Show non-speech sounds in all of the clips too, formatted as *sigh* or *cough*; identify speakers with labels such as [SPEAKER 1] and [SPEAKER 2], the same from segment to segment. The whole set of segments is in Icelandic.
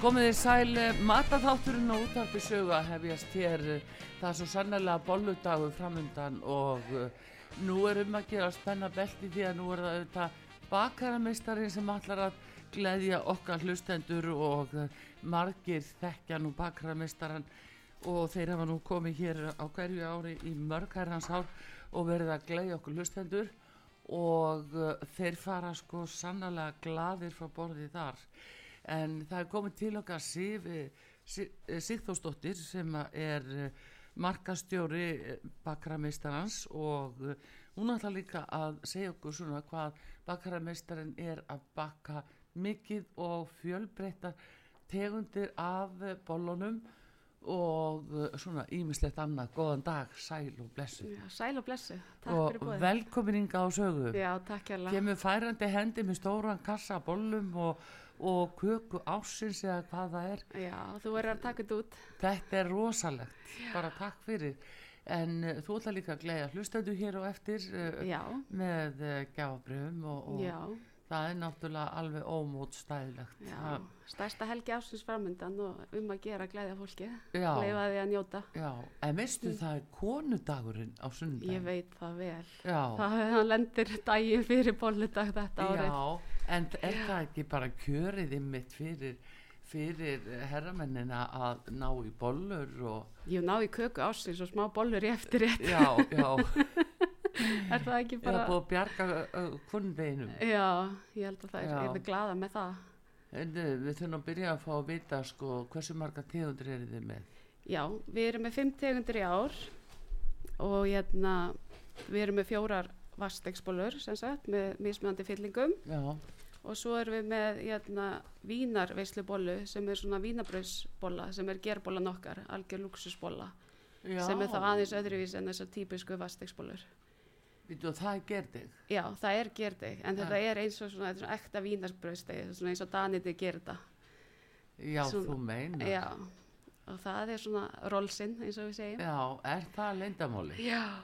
[SPEAKER 1] Komið þið sæl eh, mataþátturinn og útarpi sögu að hefjast hér eh, það er svo sannlega bolludagur framundan og eh, nú er um að gera að spenna belti því að nú er það auðvitað bakarameistarinn sem allar að gleðja okkar hlustendur og eh, margir þekkja nú bakarameistaran og þeir hafa nú komið hér á hverju ári í mörg herrans ár og verið að gleðja okkur hlustendur og uh, þeir fara sko sannlega gladir frá borðið þar en það er komið til okkar Sif, Sigþósdóttir sem að er uh, markastjóri bakrameisterans og uh, hún ætlar líka að segja okkur svona hvað bakarameistarinn er að bakka mikið og fjölbreytta tegundir af uh, bollunum og uh, svona ímislegt annað, góðan dag, sæl og blessu
[SPEAKER 2] Já, sæl og blessu, takk fyrir
[SPEAKER 1] og
[SPEAKER 2] bóðið.
[SPEAKER 1] velkomin inga á sögu
[SPEAKER 2] Já, takk hérlega.
[SPEAKER 1] kemur færandi hendi með stóran kassa af bollum og, og köku ásins eða hvað það er
[SPEAKER 2] Já, þú verður að taka þetta út.
[SPEAKER 1] þetta er rosalegt, bara takk fyrir en uh, þú ætla líka að gleyja hlustandi hér og eftir uh,
[SPEAKER 2] Já,
[SPEAKER 1] með uh, gjábröfum og, og
[SPEAKER 2] já,
[SPEAKER 1] það er náttúrulega alveg ómótstæðilegt
[SPEAKER 2] já.
[SPEAKER 1] Það-
[SPEAKER 2] Stærsta helgi ásins framöndan og um að gera að glæðja fólki.
[SPEAKER 1] Já.
[SPEAKER 2] Leifa því að njóta.
[SPEAKER 1] já, en veistu það er konudagurinn á sundag
[SPEAKER 2] Ég veit það vel.
[SPEAKER 1] já,
[SPEAKER 2] Það hann lendir daginn fyrir bolludag þetta árið.
[SPEAKER 1] Já, en er það ekki bara kjörið ymmit fyrir, fyrir herramennina að ná í bollur og
[SPEAKER 2] Ég ná í köku ásins og smá bollur í eftir rétt.
[SPEAKER 1] já, já,
[SPEAKER 2] *laughs* Er það ekki
[SPEAKER 1] ég er
[SPEAKER 2] bara...
[SPEAKER 1] búið að bjarga uh, kundveginum.
[SPEAKER 2] Já, ég held að það er,
[SPEAKER 1] Já.
[SPEAKER 2] er glaða með það.
[SPEAKER 1] En uh, við þurfum að byrja að fá að vita sko hversu marga tegundir eru þið með.
[SPEAKER 2] Já, við erum með fimm tegundir í ár og hérna, við erum með fjórar vastegsbólur sem sagt með mismunandi fyllingum
[SPEAKER 1] Já,
[SPEAKER 2] og svo erum við með hérna, vínarveislubólu sem er svona vínabröðsbóla sem er gerbólan okkar, algjör luxusbóla
[SPEAKER 1] já.
[SPEAKER 2] sem er þá aðeins öðruvís en þessar típisku vastegsbólur.
[SPEAKER 1] Vídu, það er gerðið.
[SPEAKER 2] Já, það er gerdeg en þetta er eins og svona, þetta er svona ekta vínarbröðsteg, svona eins og daniti gerða.
[SPEAKER 1] Já,
[SPEAKER 2] Svona-
[SPEAKER 1] þú meinar.
[SPEAKER 2] Já, og það er svona rollsinn eins og við segjum.
[SPEAKER 1] Já, er það leindamáli?
[SPEAKER 2] Já,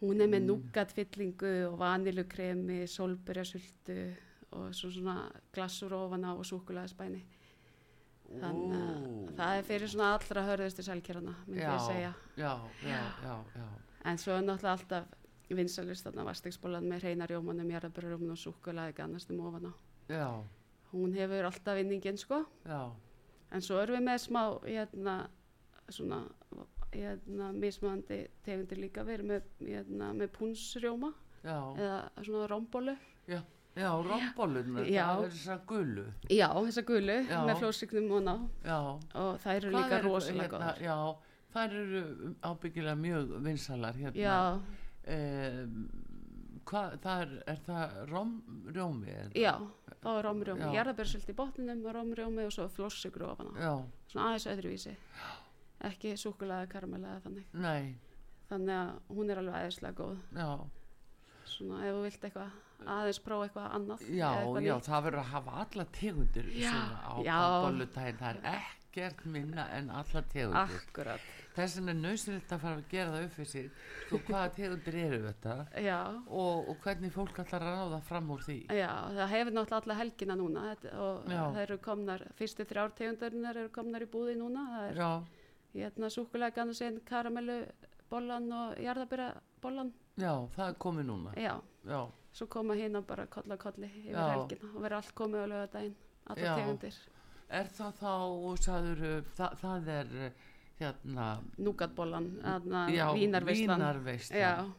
[SPEAKER 2] hún er
[SPEAKER 1] Mm.
[SPEAKER 2] með núgatfyllingu og vanilukremi, solberjasultu og svo svona glassur ofan á og súkulæðisbæni. Þannig að það er fyrir svona allra hörðustu sælkerana, myndi ég segja.
[SPEAKER 1] Já, já, já, já.
[SPEAKER 2] En svo er náttúrulega alltaf vinsalust þarna vastegsbólan með reynarjómanum, jarðabröðrjómanum og súkulæði gannastum ofan á.
[SPEAKER 1] Já,
[SPEAKER 2] Hún hefur alltaf vinningin sko.
[SPEAKER 1] já,
[SPEAKER 2] En svo erum við með smá, hérna, svona, hérna, mismandi tegundir líka. Við erum með, hérna, með púnsrjóma
[SPEAKER 1] já.
[SPEAKER 2] eða svona rombólu
[SPEAKER 1] Já, já, rombolurnar,
[SPEAKER 2] Já.
[SPEAKER 1] það er þessar gulu.
[SPEAKER 2] já, þessa gulu
[SPEAKER 1] Já.
[SPEAKER 2] með flósignum og ná
[SPEAKER 1] Já,
[SPEAKER 2] og þær eru
[SPEAKER 1] Hvað
[SPEAKER 2] líka
[SPEAKER 1] eru- hérna
[SPEAKER 2] rosalega góðar
[SPEAKER 1] Já, þær eru ábyggilega mjög vinsalar hérna.
[SPEAKER 2] já,
[SPEAKER 1] Ehm, hvað, það er, er það róm, rjómi? Er
[SPEAKER 2] já, þá er romrjómi
[SPEAKER 1] Já.
[SPEAKER 2] jarðabærsöld í botninum og romrjómi og svo flósigru ofan á,
[SPEAKER 1] Já,
[SPEAKER 2] svona aðeins öðruvísi ekki súkulega karamella eða þannig
[SPEAKER 1] nei,
[SPEAKER 2] þannig að hún er alveg aðeinslega góð
[SPEAKER 1] já,
[SPEAKER 2] svona ef þú vilt eitthvað aðeins prófa eitthvað annað
[SPEAKER 1] já,
[SPEAKER 2] eða eitthvað
[SPEAKER 1] já,
[SPEAKER 2] nýtt.
[SPEAKER 1] það verður að hafa alla tegundir
[SPEAKER 2] Já,
[SPEAKER 1] svona á,
[SPEAKER 2] já.
[SPEAKER 1] á bollutæðin, það er ekkert minna en alla tegundir.
[SPEAKER 2] akkurat,
[SPEAKER 1] Þess vegna er nöðsynlegt að fara að gera það upp fyrir sig, sko hvaða tegundir eru þetta
[SPEAKER 2] já
[SPEAKER 1] og, og hvernig fólk ætlar að ráða fram úr því.
[SPEAKER 2] Já, það hefur náttúrulega alla helgina núna þetta- og
[SPEAKER 1] Já.
[SPEAKER 2] það eru komnar, fyrstu þrjár tegundarinnar eru komnar í búði núna, það er
[SPEAKER 1] Já,
[SPEAKER 2] hérna súkulegan og sen karamellu bollan og jarðabyrra bollan
[SPEAKER 1] já, það er komið núna,
[SPEAKER 2] já,
[SPEAKER 1] já.
[SPEAKER 2] svo koma hérna bara kolla kolli yfir
[SPEAKER 1] Ah. Já.
[SPEAKER 2] helgina og verður allt komið á lögadaginn
[SPEAKER 1] Já.
[SPEAKER 2] allar tegundir,
[SPEAKER 1] Er það þá, sagður, það, það er uh, hérna,
[SPEAKER 2] núgatbollan þarna
[SPEAKER 1] já,
[SPEAKER 2] vínarveislan
[SPEAKER 1] vínarveislan.
[SPEAKER 2] já,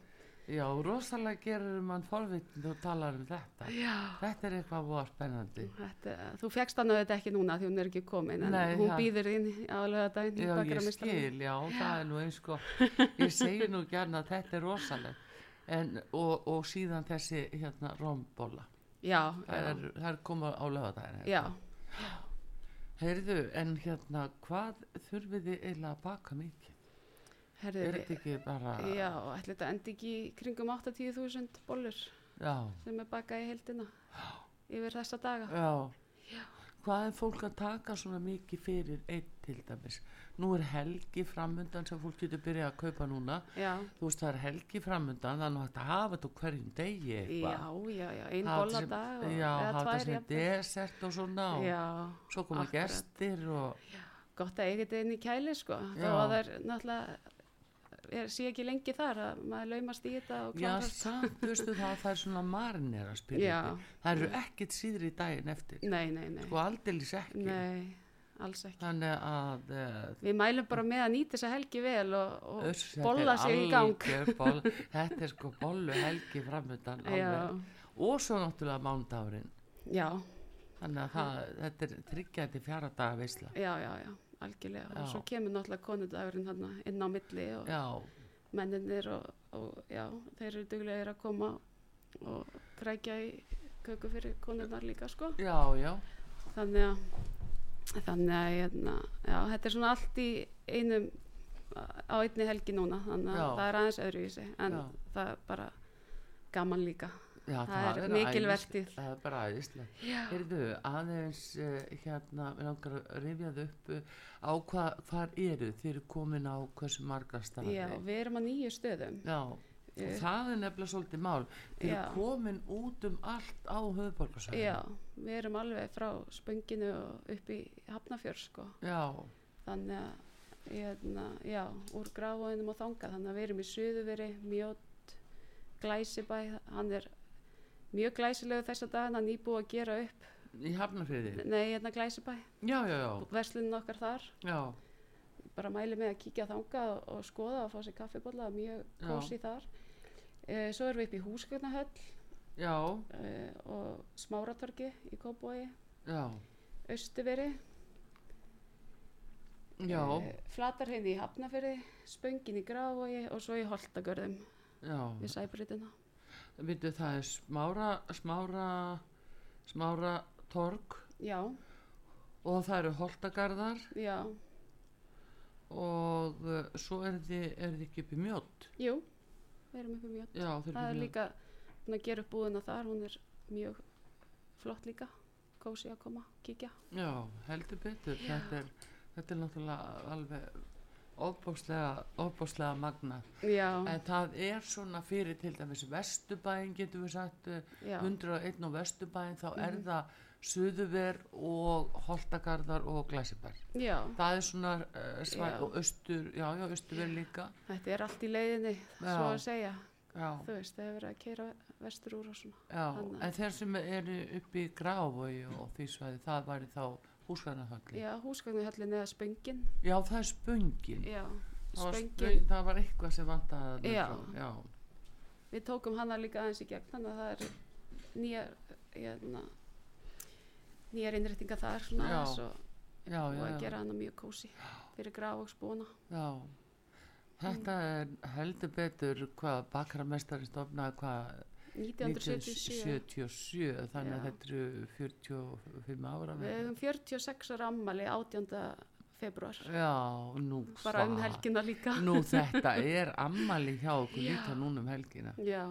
[SPEAKER 1] Já, rosalega gerur mann forvitn og talar um þetta.
[SPEAKER 2] já.
[SPEAKER 1] Þetta er eitthvað voða spennandi.
[SPEAKER 2] Þetta, þú fegst hann auðvitað ekki núna því hún er ekki komin en
[SPEAKER 1] Nei,
[SPEAKER 2] hún
[SPEAKER 1] það-
[SPEAKER 2] býður þín á lögadaginn í
[SPEAKER 1] Já, ég
[SPEAKER 2] bakarameistarnum.
[SPEAKER 1] skil, já, það er nú eins og, ég segi nú gern að þetta er rosalegt. En, og, og síðan þessi, hérna, rombola.
[SPEAKER 2] já,
[SPEAKER 1] Það
[SPEAKER 2] já,
[SPEAKER 1] er, það er komað á lögadaginu.
[SPEAKER 2] já.
[SPEAKER 1] Heyrðu, en hérna, hvað þurfið þið eiginlega að baka mikið?
[SPEAKER 2] herðu
[SPEAKER 1] Er þetta ekki bara,
[SPEAKER 2] já, ætli þetta endi ekki í kringum 80.000 bollur
[SPEAKER 1] já.
[SPEAKER 2] sem er bakað í heildina yfir þessa daga
[SPEAKER 1] Já. hvað er fólk að taka svona mikið fyrir einn til dæmis nú er helgi framundan sem fólk getur byrjað að kaupa núna
[SPEAKER 2] já,
[SPEAKER 1] þú veist það er helgi framundan þannig að þetta hafa þetta á hverjum degi eitthvað
[SPEAKER 2] já, já, já, ein
[SPEAKER 1] Hafa þetta
[SPEAKER 2] bolladag
[SPEAKER 1] sem-
[SPEAKER 2] og-
[SPEAKER 1] já,
[SPEAKER 2] eða
[SPEAKER 1] hafa
[SPEAKER 2] tvær
[SPEAKER 1] þetta sem
[SPEAKER 2] jafnvel.
[SPEAKER 1] desert og svona og
[SPEAKER 2] já,
[SPEAKER 1] svo koma
[SPEAKER 2] akkurat.
[SPEAKER 1] gestir og
[SPEAKER 2] gott að eiga þetta inn í kæli sko þá
[SPEAKER 1] Já.
[SPEAKER 2] að það er náttúrulega er, sé ekki lengi þar að maður laumast í þetta og
[SPEAKER 1] já
[SPEAKER 2] klárast
[SPEAKER 1] samt, veistu það, það er svona marinera
[SPEAKER 2] Já.
[SPEAKER 1] spyrir það eru ekkit síðri í daginn eftir
[SPEAKER 2] nei, nei, nei,
[SPEAKER 1] sko aldeilis ekki
[SPEAKER 2] nei alls ekki
[SPEAKER 1] þannig að uh,
[SPEAKER 2] við mælum bara með að nýta þessa helgi vel og, og
[SPEAKER 1] Uss, þetta
[SPEAKER 2] bolla
[SPEAKER 1] er
[SPEAKER 2] sig í gang
[SPEAKER 1] algjör boll, þetta er sko bollu helgi framöndan
[SPEAKER 2] já,
[SPEAKER 1] og svo náttúrulega mándárin
[SPEAKER 2] já,
[SPEAKER 1] þannig að það, þetta er tryggjandi fjara daga veisla
[SPEAKER 2] já, já, já algjörlega
[SPEAKER 1] Já.
[SPEAKER 2] og svo kemur náttúrulega konudagurinn þarna inn á milli og
[SPEAKER 1] já,
[SPEAKER 2] menninir og, og já, þeir eru duglegir að koma og frækja í köku fyrir konurnar líka sko
[SPEAKER 1] já, já
[SPEAKER 2] þannig að þannig að hérna, já, þetta er svona allt í einum á einni helgi núna þannig að
[SPEAKER 1] Já.
[SPEAKER 2] það er aðeins öðruvísi en
[SPEAKER 1] Já.
[SPEAKER 2] það er bara gaman líka
[SPEAKER 1] já
[SPEAKER 2] það, er mikil
[SPEAKER 1] æðis-
[SPEAKER 2] vertið
[SPEAKER 1] það er bara æðislega
[SPEAKER 2] já,
[SPEAKER 1] heyrðu, aðeins uh, hérna, við langar að rifjað upp uh, á hvað, hvar eru þið eru komin á hversu marga staði
[SPEAKER 2] já, við erum á nýju stöðum
[SPEAKER 1] já. og
[SPEAKER 2] Eh,
[SPEAKER 1] það er nefnilega svolítið mál þið eru
[SPEAKER 2] Já.
[SPEAKER 1] komin út um allt á höfuborgarsæðin
[SPEAKER 2] já, við erum alveg frá spönginu og upp í Hafnafjörð sko
[SPEAKER 1] já,
[SPEAKER 2] þannig að hérna, já, úr gráðunum og þanga þannig að við erum í Suðuveri, Mjótt Glæsibæ, hann er mjög glæsilegu þessa dagana nýbúið að gera upp,
[SPEAKER 1] í Hafnarfriði
[SPEAKER 2] nei, hérna Glæsibæ
[SPEAKER 1] já, já, já,
[SPEAKER 2] verslunin okkar þar,
[SPEAKER 1] já,
[SPEAKER 2] bara mæli með að kíkja þanga og, og skoða og fá sér kaffibólla mjög
[SPEAKER 1] Já.
[SPEAKER 2] kósi þar e, svo erum við upp í Húsgagnahöll
[SPEAKER 1] já,
[SPEAKER 2] e, og Smáratorgi í Kóbói,
[SPEAKER 1] já.
[SPEAKER 2] Östuveri
[SPEAKER 1] Já,
[SPEAKER 2] Eh, Flatarheinni í Hafnafyrði Spöngin í Gravogi og svo í Holtagörðum
[SPEAKER 1] já,
[SPEAKER 2] við Sæbritina
[SPEAKER 1] myndu það er smára, smára, smára torg
[SPEAKER 2] Já,
[SPEAKER 1] og það eru holtagarðar
[SPEAKER 2] já,
[SPEAKER 1] og uh, svo er þið, er þið ekki upp í mjótt.
[SPEAKER 2] jú, við erum upp um jött.
[SPEAKER 1] Já, þau eru
[SPEAKER 2] Það er
[SPEAKER 1] upp í mjótt.
[SPEAKER 2] líka, búin að gera upp búðina þar, hún er mjög flott líka, kósi að koma, kíkja.
[SPEAKER 1] Já, heldur betur.
[SPEAKER 2] Já.
[SPEAKER 1] Þetta er, þetta er náttúrulega alveg ofbáslega, ofbáslega magnað.
[SPEAKER 2] Já,
[SPEAKER 1] En það er svona fyrir til dæmis vesturbæin, getum við sagt, uh,
[SPEAKER 2] já,
[SPEAKER 1] 101 og vesturbæin, þá er
[SPEAKER 2] Mhm.
[SPEAKER 1] það suðuver og holtagarðar og glæsibær.
[SPEAKER 2] já,
[SPEAKER 1] Það er svona uh,
[SPEAKER 2] Já.
[SPEAKER 1] svæð og austur, já, já, austur verið líka.
[SPEAKER 2] þetta er allt í leiðinni,
[SPEAKER 1] Já.
[SPEAKER 2] svo að segja,
[SPEAKER 1] Já,
[SPEAKER 2] þú veist, það hefur verið að keira vestur úr og svona.
[SPEAKER 1] já,
[SPEAKER 2] þannig.
[SPEAKER 1] en þeir sem eru upp í Gravogi og því svæði, það væri þá húsgæðnahölli. Já.
[SPEAKER 2] Já, húsgagnuhöllin eða spöngin,
[SPEAKER 1] það er spöngin.
[SPEAKER 2] já,
[SPEAKER 1] Það var,
[SPEAKER 2] spöngin,
[SPEAKER 1] spöng, það var eitthvað sem vantaði þarna
[SPEAKER 2] Já.
[SPEAKER 1] frá, já,
[SPEAKER 2] við tókum hana líka aðeins í gegn, þannig að það er nýjar, hérna, nýjar innréttinga þar svona
[SPEAKER 1] Já,
[SPEAKER 2] aðeins og,
[SPEAKER 1] já,
[SPEAKER 2] og
[SPEAKER 1] já,
[SPEAKER 2] að
[SPEAKER 1] já,
[SPEAKER 2] gera hana mjög kósi fyrir Gravogsbúna.
[SPEAKER 1] já. Þetta er
[SPEAKER 2] Mm.
[SPEAKER 1] heldur betur hvað bakramestari stofnaði hvað
[SPEAKER 2] 1977
[SPEAKER 1] 1977 þannig að
[SPEAKER 2] Já.
[SPEAKER 1] þetta eru 45 ára
[SPEAKER 2] Við hefum 46 ára ammali 18. februar
[SPEAKER 1] Já, nú hvað
[SPEAKER 2] bara um helgina líka
[SPEAKER 1] Nú þetta er ammali hjá
[SPEAKER 2] *laughs*
[SPEAKER 1] okkur
[SPEAKER 2] Já.
[SPEAKER 1] líka núna um helgina.
[SPEAKER 2] Já,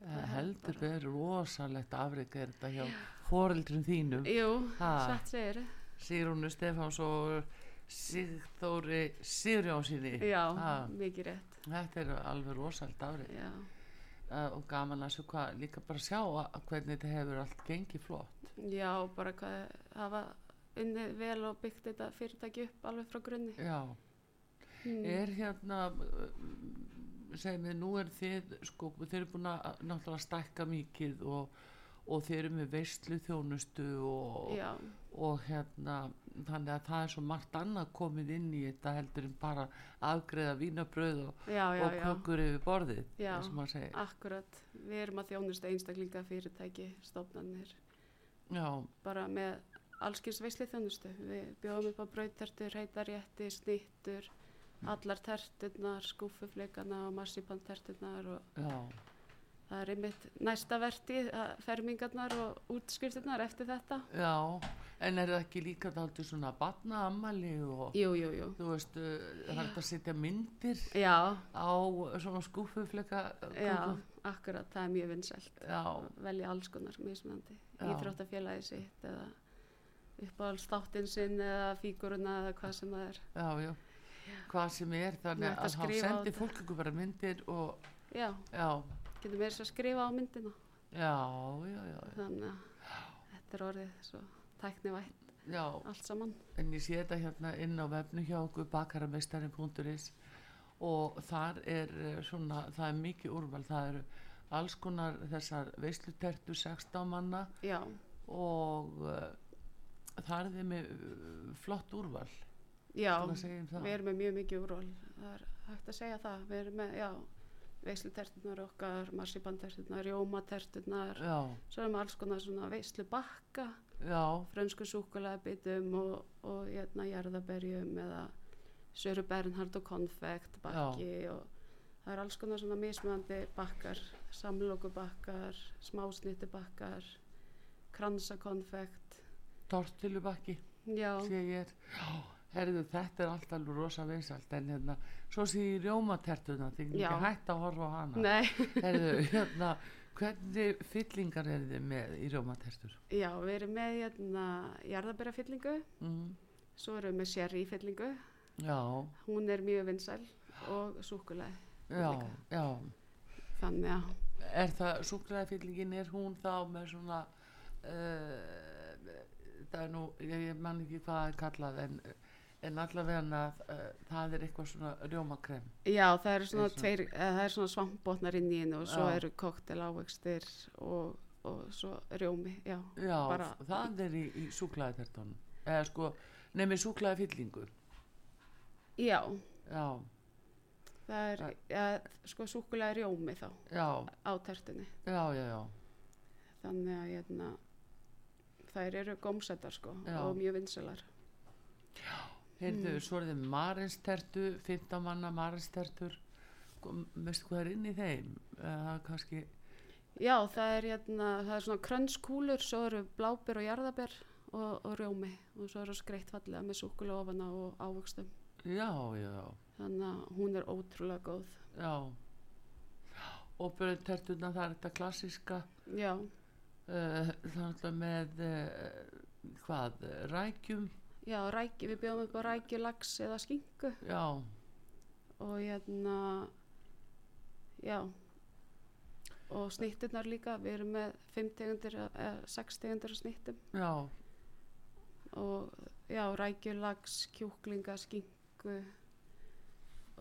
[SPEAKER 1] Það
[SPEAKER 2] er
[SPEAKER 1] heldur
[SPEAKER 2] bara-
[SPEAKER 1] verið rosalegt afrið er þetta hjá foreldrum þínum.
[SPEAKER 2] jú,
[SPEAKER 1] Ha.
[SPEAKER 2] satt segir
[SPEAKER 1] Sigrúnu Stefáns og Sigþóri Sigurjónsíni.
[SPEAKER 2] Já,
[SPEAKER 1] Ha.
[SPEAKER 2] mikið rétt
[SPEAKER 1] Þetta er alveg rosalegt afrið
[SPEAKER 2] Já,
[SPEAKER 1] uh, og gaman að sjá hvað, líka bara sjá að hvernig þetta hefur allt gengið flott.
[SPEAKER 2] Já bara hvað hafa unnið vel og byggt þetta fyrirtæki upp alveg frá grunni
[SPEAKER 1] Já,
[SPEAKER 2] hmm.
[SPEAKER 1] er hérna, mm, segjum við, nú er þið, sko, þið eru búin að náttúrulega stækka mikið og, og þið eru með veistlu þjónustu og,
[SPEAKER 2] Já,
[SPEAKER 1] og hérna þannig að það er svo margt annað komið inn í þetta heldur en bara afgreða vínabröð og,
[SPEAKER 2] já, já,
[SPEAKER 1] og
[SPEAKER 2] já
[SPEAKER 1] kökur yfir borðið
[SPEAKER 2] Já.
[SPEAKER 1] eins og maður segir
[SPEAKER 2] Akkurat, við erum að þjónusta einstaklinga fyrirtæki, stofnanir
[SPEAKER 1] já,
[SPEAKER 2] bara með allskins veisli þjónustu. Við bjóðum upp á brautertur, heitarétti, snittur, allar terturnar, skúfufleikana og marsipanterturnar og
[SPEAKER 1] já,
[SPEAKER 2] það er einmitt næsta verti, að fermingarnar og útskriftirnar eftir þetta.
[SPEAKER 1] já en er það ekki líka þáttu svona batna ammali og
[SPEAKER 2] Jú, jú, jú.
[SPEAKER 1] þú veist, uh, það er hægt að setja myndir
[SPEAKER 2] Já,
[SPEAKER 1] á svona skúfufleika
[SPEAKER 2] já,
[SPEAKER 1] kökur.
[SPEAKER 2] akkurat, það er mjög vinsælt.
[SPEAKER 1] já,
[SPEAKER 2] Velja alls konar mismunandi,
[SPEAKER 1] Já.
[SPEAKER 2] íþróttafélagi sitt eða uppáhaldsþáttinn sinn eða fíguruna eða hvað sem það er
[SPEAKER 1] já, já, hvað sem er þannig
[SPEAKER 2] Nú ertu að
[SPEAKER 1] að hann
[SPEAKER 2] skrifa á
[SPEAKER 1] sendi
[SPEAKER 2] þetta.
[SPEAKER 1] fólk ykkur bara myndir og
[SPEAKER 2] já,
[SPEAKER 1] já,
[SPEAKER 2] getur meira svo að skrifa á myndina
[SPEAKER 1] já, já, já,
[SPEAKER 2] þannig að þetta er orðið svo tæknivætt
[SPEAKER 1] já.
[SPEAKER 2] allt saman
[SPEAKER 1] en ég sé þetta hérna inn á vefnu hjá okkur bakarameistarin.is og þar er eh, svona, það er mikið úrval, það eru alls konar þessar veislutertu 16 manna
[SPEAKER 2] já,
[SPEAKER 1] og uh, það er þið með eh, flott úrval
[SPEAKER 2] já
[SPEAKER 1] svona að segja um það.
[SPEAKER 2] við erum með mjög mikið úrval það er hægt að segja það við erum með, já, veislutertunar okkar marsipantertunar, jómatertunar
[SPEAKER 1] Já,
[SPEAKER 2] svo erum við alls konar svona veislubakka
[SPEAKER 1] já,
[SPEAKER 2] frönsku súkulegabitum og, og hérna jarðaberjum eða Söru Bernhard og konfekt bakki og það er alls konar svona mismunandi bakkar, samlokubakkar smásnittubakkar kransakonfekt
[SPEAKER 1] tortilubakki
[SPEAKER 2] já,
[SPEAKER 1] sé ég er já, herðu, þetta er allt alveg rosa vinsalt en hérna, svo sé ég rjómatertuna þig
[SPEAKER 2] Já.
[SPEAKER 1] ekki hægt að horfa á hana
[SPEAKER 2] nei
[SPEAKER 1] herðu, hérna hvernig fyllingar eru þið með í rjómatertur
[SPEAKER 2] já, við erum með hérna jarðaberjafyllingu
[SPEAKER 1] mm.
[SPEAKER 2] svo erum við með sherryfyllingu
[SPEAKER 1] já,
[SPEAKER 2] hún er mjög vinsæl og súkuleg
[SPEAKER 1] já,
[SPEAKER 2] Líka.
[SPEAKER 1] já
[SPEAKER 2] þannig að
[SPEAKER 1] er það, súklaðafyllingin er hún þá með svona uh, það er nú ég, ég man ekki hvað það er kallað en en allavega uh, það er eitthvað svona rjómakrem
[SPEAKER 2] Já, það eru
[SPEAKER 1] Er
[SPEAKER 2] svona,
[SPEAKER 1] svona-
[SPEAKER 2] tveir, eða það eru svona svampbotnar inn í henni og svo
[SPEAKER 1] Já.
[SPEAKER 2] eru koktel ávegstir og, og svo rjómi, já.
[SPEAKER 1] já,
[SPEAKER 2] Bara-
[SPEAKER 1] það er í, í súklaðatertunum eða sko, nefnir súklaðafyllingu
[SPEAKER 2] Já,
[SPEAKER 1] já,
[SPEAKER 2] það er,
[SPEAKER 1] Það-
[SPEAKER 2] ja, sko, súkulega rjómi þá
[SPEAKER 1] já,
[SPEAKER 2] á tertunni.
[SPEAKER 1] já, já, já.
[SPEAKER 2] Þannig að, hérna, þær eru gómsettar, sko,
[SPEAKER 1] Já.
[SPEAKER 2] og mjög vinsalar.
[SPEAKER 1] Heyrðu, svo er þið marinstertu, 15 manna marinstertur. Veistu hvað er inn í þeim? Eh, Það er kannski,
[SPEAKER 2] Já, það er, hérna, það er svona krönskúlur, svo eru bláber og jarðaber og, og rjómi og svo eru skreitt fallega með súkulega ofana og ávegstum.
[SPEAKER 1] já, já, já,
[SPEAKER 2] Þannig að hún er ótrúlega góð.
[SPEAKER 1] já. Og börntertuna, það er þetta klassiska,
[SPEAKER 2] Já,
[SPEAKER 1] uh, þannig að með, uh, hvað, rækjum,
[SPEAKER 2] já, rækju, við bjóðum upp á rækju, lax eða skingu.
[SPEAKER 1] já,
[SPEAKER 2] og hérna já og snittunar líka við erum með 5 tegundir af- eða 6 tegundir af snittum
[SPEAKER 1] já,
[SPEAKER 2] og já, rækjulags, kjúklinga, skingu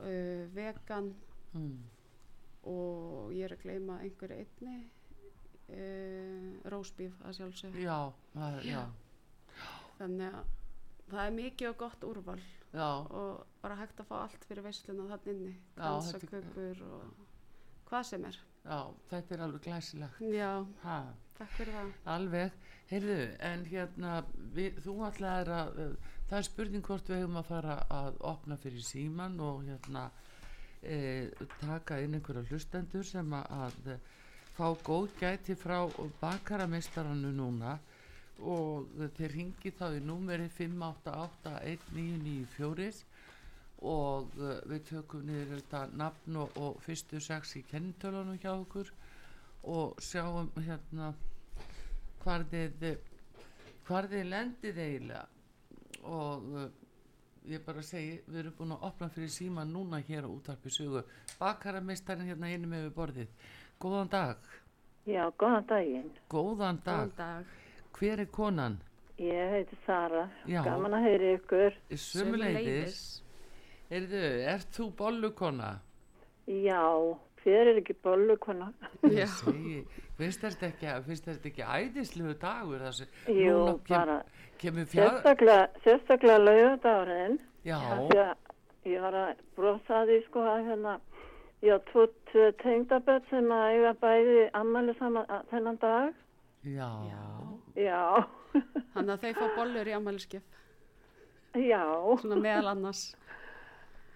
[SPEAKER 2] uh, vegan
[SPEAKER 1] mm,
[SPEAKER 2] og ég er að gleyma einhverju einni uh, rósbíf að sjálfsög
[SPEAKER 1] já, það er, já,
[SPEAKER 2] þannig að það er mikið og gott úrval
[SPEAKER 1] já,
[SPEAKER 2] og bara hægt að fá allt fyrir veisluna þann inni,
[SPEAKER 1] Já, þetta-
[SPEAKER 2] dansakökur og hvað sem er
[SPEAKER 1] já, þetta er alveg glæsilegt.
[SPEAKER 2] já
[SPEAKER 1] Hæ?
[SPEAKER 2] Takk fyrir það.
[SPEAKER 1] Alveg, heyrðu, en hérna, við, þú ætlaðir að, uh, það er spurning hvort við hefum að fara að opna fyrir síman og hérna e, taka inn einhverja hlustendur sem að, að eh, fá góð gæti frá bakarameistarannu núna og eh, þeir ringi þá í númeri 588-1994 og uh, við tökum niður þetta nafn og, og fyrstu sex í kennitölunum hjá okkur og sjáum hérna hvar þið hvar þið lendið eiginlega og uh, ég bara segi, við erum búin að opna fyrir síma núna hér á útarpi sögu bakarameistarinn hérna inn með við borðið góðan dag,
[SPEAKER 3] Já, góðan daginn.
[SPEAKER 1] góðan dag
[SPEAKER 2] Góðan dag.
[SPEAKER 1] hver er konan?
[SPEAKER 3] Ég heiti Sara.
[SPEAKER 1] Já.
[SPEAKER 3] Gaman að heyra ykkur.
[SPEAKER 1] Sumuleiðis, erðu, ert þú bollukona?
[SPEAKER 3] Já, þér er ekki bollukona.
[SPEAKER 2] Já.
[SPEAKER 1] Ég segi, finnst þetta ekki, finnst þetta ekki æðislegu dagur þessi,
[SPEAKER 3] Jú,
[SPEAKER 1] núna
[SPEAKER 3] bara
[SPEAKER 1] kemur fjár
[SPEAKER 3] sérstaklega, sérstaklega laugardagurinn.
[SPEAKER 1] já,
[SPEAKER 3] Því að ég var að brosa að því sko að hérna, ég á tvo, tvo tengdaböld sem að eiga bæði ammæli saman að- þennan dag.
[SPEAKER 1] já,
[SPEAKER 3] Já, *laughs*
[SPEAKER 2] Þannig að þau fá bollur í afmæliskef,
[SPEAKER 3] já,
[SPEAKER 2] svona meðal annars.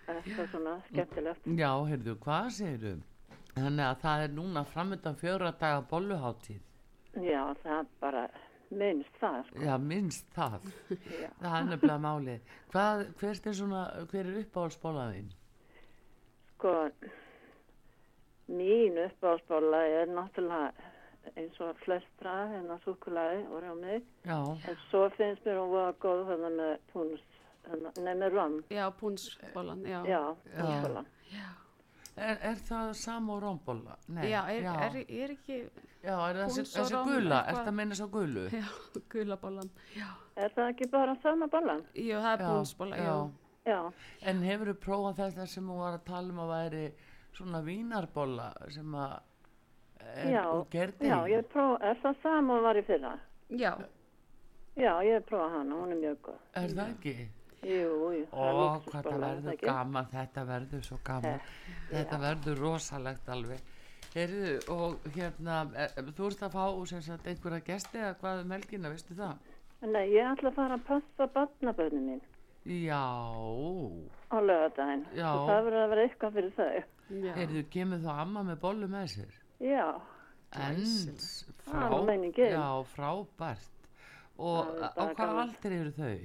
[SPEAKER 3] þetta er svona skemmtilegt.
[SPEAKER 1] já, heyrðu, hvað segirðu? Þannig að það er núna framöndan fjóra daga bolluháttíð.
[SPEAKER 3] Já, það er bara minnst það sko.
[SPEAKER 1] Já, minnst það.
[SPEAKER 3] Já.
[SPEAKER 1] Það er nefnilega málið. Hvað, hvert er svona, hver er uppáhaldsbólaðinn?
[SPEAKER 3] Sko, mín uppáhaldsbóla er náttúrulega eins og flestra hérna súkulaði og rjómi
[SPEAKER 1] já,
[SPEAKER 3] en svo finnst mér hún voða góð hérna með púns, hérna, nei með rom
[SPEAKER 2] Já, púnsbólan, já.
[SPEAKER 3] já,
[SPEAKER 1] Já.
[SPEAKER 3] púnsbóla
[SPEAKER 1] er, er það sam og rómbolla? Nei,
[SPEAKER 2] Já, er,
[SPEAKER 1] já,
[SPEAKER 2] er, er ekki
[SPEAKER 1] já, er það
[SPEAKER 2] Púls
[SPEAKER 1] þessi,
[SPEAKER 2] og
[SPEAKER 1] þessi
[SPEAKER 2] róm,
[SPEAKER 1] gula,
[SPEAKER 2] eitthvað.
[SPEAKER 1] er það meina svo gulu?
[SPEAKER 2] já, gulabólan. Já,
[SPEAKER 3] er það ekki bara sama bólan?
[SPEAKER 2] Jú, það er
[SPEAKER 1] Já,
[SPEAKER 2] púnsbóla, já.
[SPEAKER 1] já.
[SPEAKER 3] já,
[SPEAKER 1] En hefur þú prófað þetta sem hún var að tala um að væri svona vínarbolla sem að er,
[SPEAKER 3] Já,
[SPEAKER 1] og gerði?
[SPEAKER 3] já, ég prófa, er það sama og var í fyrra?
[SPEAKER 2] Já,
[SPEAKER 3] já, ég prófa hana, hún er mjög góð
[SPEAKER 1] Er það ekki?
[SPEAKER 3] jú, jú,
[SPEAKER 1] Ó, hvað það verður gaman, þetta verður svo gaman, þetta verður rosalegt alveg. Heyrðu, og hérna, e, e, þú ert að fá sem sagt einhverja gesti eða hvað um helgina, veistu það?
[SPEAKER 3] nei, ég ætla að fara að passa barnabönni mín
[SPEAKER 1] Já,
[SPEAKER 3] á lögadaginn
[SPEAKER 1] Já.
[SPEAKER 3] og það verður að vera eitthvað fyrir þau
[SPEAKER 2] já.
[SPEAKER 1] heyrðu, kemur þá amma með bollu með sér?
[SPEAKER 3] já,
[SPEAKER 1] Ens,
[SPEAKER 3] Það er nú meiningin.
[SPEAKER 1] já, frábært. Og
[SPEAKER 3] Það er
[SPEAKER 1] á
[SPEAKER 3] bara
[SPEAKER 1] hvað
[SPEAKER 3] gaman.
[SPEAKER 1] aldrei eru þau?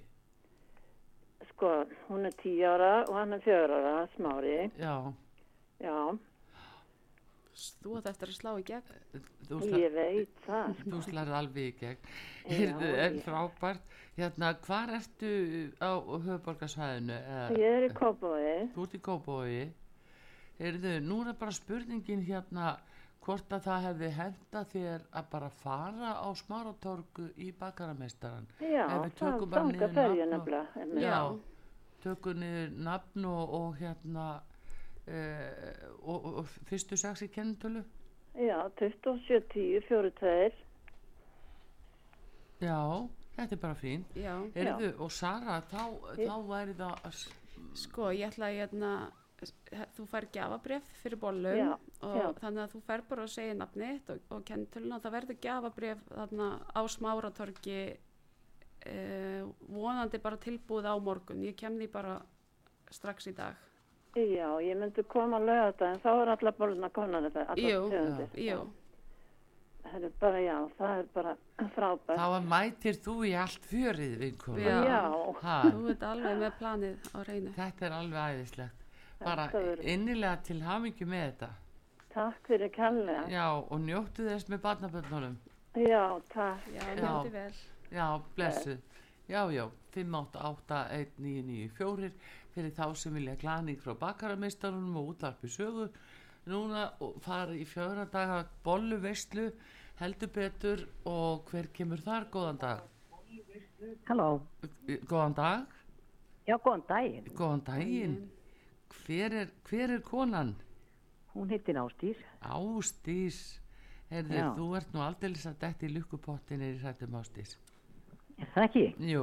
[SPEAKER 3] sko, hún er tíu ára og hann er fjör ára, smári
[SPEAKER 1] Já,
[SPEAKER 3] já,
[SPEAKER 2] Þú átt eftir að slá í gegn.
[SPEAKER 1] þú slær,
[SPEAKER 3] ég veit það sko.
[SPEAKER 1] þú slær alveg í gegn. Heyrðu,
[SPEAKER 3] Já,
[SPEAKER 1] en
[SPEAKER 3] já.
[SPEAKER 1] frábært. Hérna, hvar ertu á höfuborgarsvæðinu?
[SPEAKER 3] ég er í Kópavogi
[SPEAKER 1] Þú ert í Kópavogi. Heyrðu, nú er það bara spurningin hérna hvort að það hefði henda þér að bara fara á smáratorgu í bakarameistaran.
[SPEAKER 3] já,
[SPEAKER 1] Ef við
[SPEAKER 3] það
[SPEAKER 1] tökum bara
[SPEAKER 3] þangað
[SPEAKER 1] niður
[SPEAKER 3] fer ég
[SPEAKER 1] nafn og-
[SPEAKER 3] nefnilega einmitt.
[SPEAKER 2] Já.
[SPEAKER 1] Tökum niður nafn og, og hérna eh, og, og, og fyrstu sex í kennitölu.
[SPEAKER 3] já, 27, 10, 42
[SPEAKER 1] Já, þetta er bara fín.
[SPEAKER 2] Já,
[SPEAKER 1] Heyrðu, og Sara, þá,
[SPEAKER 3] Ég-
[SPEAKER 1] þá væri það að... s-
[SPEAKER 2] sko, ég ætla að hérna, þú fær gjafabref fyrir bollum
[SPEAKER 3] Já,
[SPEAKER 2] og
[SPEAKER 3] já.
[SPEAKER 2] þannig að þú fær bara að segja nafnið þitt og, og kentulun og það verður gjafabref þarna á smáratorki uh, vonandi bara tilbúið á morgun, ég kem því bara strax í dag
[SPEAKER 3] já, ég myndi koma á lögadaginn þá er alla bóluna konar allar
[SPEAKER 2] Jú,
[SPEAKER 3] tegundir
[SPEAKER 2] Jú,
[SPEAKER 3] það er bara, já, það er bara frábært
[SPEAKER 1] Þá að mætir þú í allt fjörið, vinkona.
[SPEAKER 2] Já.
[SPEAKER 3] já,
[SPEAKER 1] Ha,
[SPEAKER 2] þú ert alveg með planið á reynu
[SPEAKER 1] þetta er alveg æðislegt. Bara
[SPEAKER 3] Þetta verður-
[SPEAKER 1] innilega til hamingju með þetta.
[SPEAKER 3] takk fyrir kallega
[SPEAKER 1] Já, og njóttu þess með barnaböndunum.
[SPEAKER 3] Já, takk.
[SPEAKER 2] Já, njóti vel
[SPEAKER 1] Já, blessuð. Já, já, 5881994 fyrir þá sem vilja glaning frá bakarameistarunum og útlarpi sögu. Núna og fara í fjögra daga bollu veistlu, heldur betur og hver kemur þar? Góðan dag.
[SPEAKER 4] Halló,
[SPEAKER 1] Góðan dag.
[SPEAKER 4] já, góðan daginn.
[SPEAKER 1] Góðan daginn. Hver er, hver er konan?
[SPEAKER 4] Hún heitir Ástýr.
[SPEAKER 1] Ástís. Herðu,
[SPEAKER 4] Já.
[SPEAKER 1] þú ert nú aldeilis að detti í lukkupottin er í hrættum ástís.
[SPEAKER 4] Er það ekki?
[SPEAKER 1] Jú,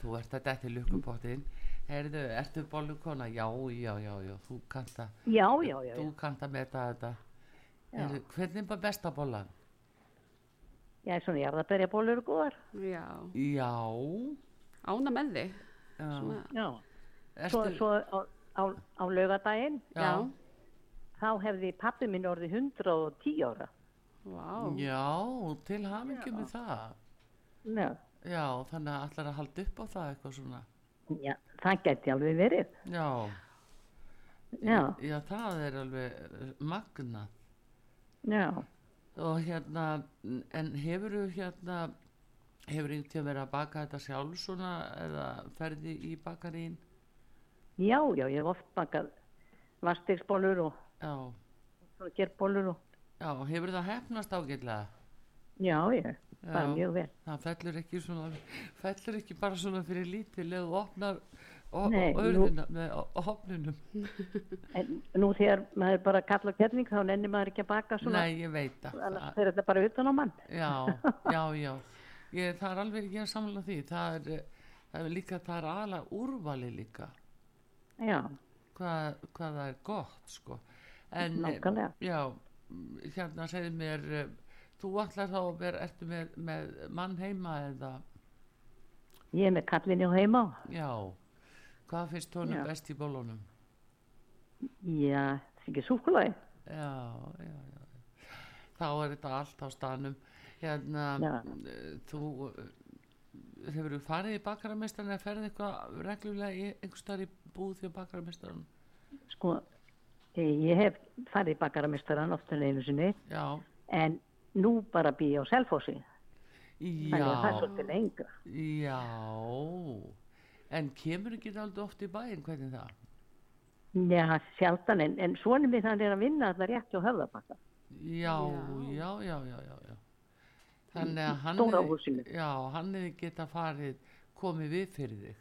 [SPEAKER 1] þú ert að detti lukkupottin. Herðu, ertu bollukona? Já, já, já, já, þú kannt að,
[SPEAKER 4] Já, já, já.
[SPEAKER 1] þú
[SPEAKER 4] já.
[SPEAKER 1] kannt að meta þetta. Herðu, hvernig var besta bollan?
[SPEAKER 4] Já, svona jarðabæriabólur eru góðar.
[SPEAKER 2] Já,
[SPEAKER 1] Já,
[SPEAKER 2] ána með þig
[SPEAKER 1] já.
[SPEAKER 2] Svona-
[SPEAKER 4] Já. Svo,
[SPEAKER 1] Ertu,
[SPEAKER 4] svo á, á, á laugadaginn,
[SPEAKER 1] já,
[SPEAKER 2] Já,
[SPEAKER 4] þá hefði pappi minn orðið 110 ára.
[SPEAKER 2] vá
[SPEAKER 1] já, til hamingju með það.
[SPEAKER 4] Já.
[SPEAKER 1] Já, þannig að allar að halda upp á það eitthvað svona.
[SPEAKER 4] já, það geti alveg verið.
[SPEAKER 1] Já,
[SPEAKER 4] Já,
[SPEAKER 1] já, það er alveg eh, magnað.
[SPEAKER 4] já.
[SPEAKER 1] og hérna en hefur þú hérna hefur þú til að vera að baka þetta sjálf svona eða ferði í bakarín
[SPEAKER 4] Já, já, ég hef oft bakað vastegsbólur og
[SPEAKER 1] já,
[SPEAKER 4] svona gerbólur og
[SPEAKER 1] já, hefur það hefnast ágætlega
[SPEAKER 4] já, ég, bara
[SPEAKER 1] Já.
[SPEAKER 4] mjög vel.
[SPEAKER 1] það fellur ekki svona fellur ekki bara svona fyrir lítið leðu opnar o-
[SPEAKER 4] Nei,
[SPEAKER 1] o- örðina með o- opnunum
[SPEAKER 4] En nú þegar maður bara kallar kerning þá nennir maður ekki að baka svona.
[SPEAKER 1] nei, ég veit að
[SPEAKER 4] Annars
[SPEAKER 1] það,
[SPEAKER 4] fer þetta bara utan á mann.
[SPEAKER 1] já, já, já ég, það er alveg ekki að samla því það er, eh, það er líka, það er aðalega úrvali líka
[SPEAKER 4] Já,
[SPEAKER 1] hvað, hvað það er gott sko. en eh,
[SPEAKER 4] Nákvæmlega.
[SPEAKER 1] já, mm, hérna segir mér eh, þú allar þá að vera ertu með, með mann heima eða
[SPEAKER 4] ég er með kallinu heima á.
[SPEAKER 1] já, hvað finnst honum
[SPEAKER 4] Já.
[SPEAKER 1] best í bólunum
[SPEAKER 4] Já, það er ekki súkulæði.
[SPEAKER 1] já, já, já þá er þetta allt á stanum hérna
[SPEAKER 4] Já.
[SPEAKER 1] eh, þú hefur þú farið í bakarameistarinn eða ferðið eitthvað reglulega í einhverstaðar í búð því á bakarameistarinn
[SPEAKER 4] Sko, eh, ég hef farið í bakarameistara noftun einu sinni,
[SPEAKER 1] já,
[SPEAKER 4] en nú bara bý ég á Selfossi þannig að það er
[SPEAKER 1] Já,
[SPEAKER 4] svolítið lengra
[SPEAKER 1] já. En kemur ekki alltaf oft í bæinn, hvernig það?
[SPEAKER 4] Já, sjaldan, en, en svonum minn hann er að vinna þarna rétt hjá höfðabakka
[SPEAKER 1] Já, já, já, já, já, já. Þannig að hann
[SPEAKER 4] stóra
[SPEAKER 1] hefði-
[SPEAKER 4] húsinu.
[SPEAKER 1] já, hann er geta farið, komið við fyrir þig.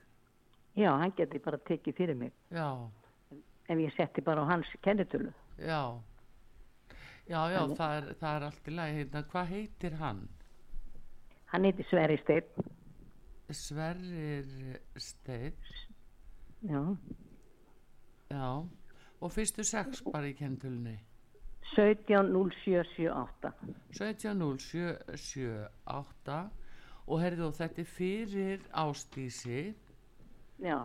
[SPEAKER 4] Já, hann geti bara tekið fyrir mig
[SPEAKER 1] Já,
[SPEAKER 4] ef ég setti bara á hans kennitölu
[SPEAKER 1] já. Já, já, það er, það er allt í lagi. Hérna, hvað heitir hann?
[SPEAKER 4] Hann heiti Sverri Steinn
[SPEAKER 1] Sverrir Steinn,
[SPEAKER 4] Já,
[SPEAKER 1] já. Og fyrstu sex bara í kentulunni.
[SPEAKER 4] 170778
[SPEAKER 1] 17078 og herðu og þetta er fyrir Ástísi,
[SPEAKER 4] Já,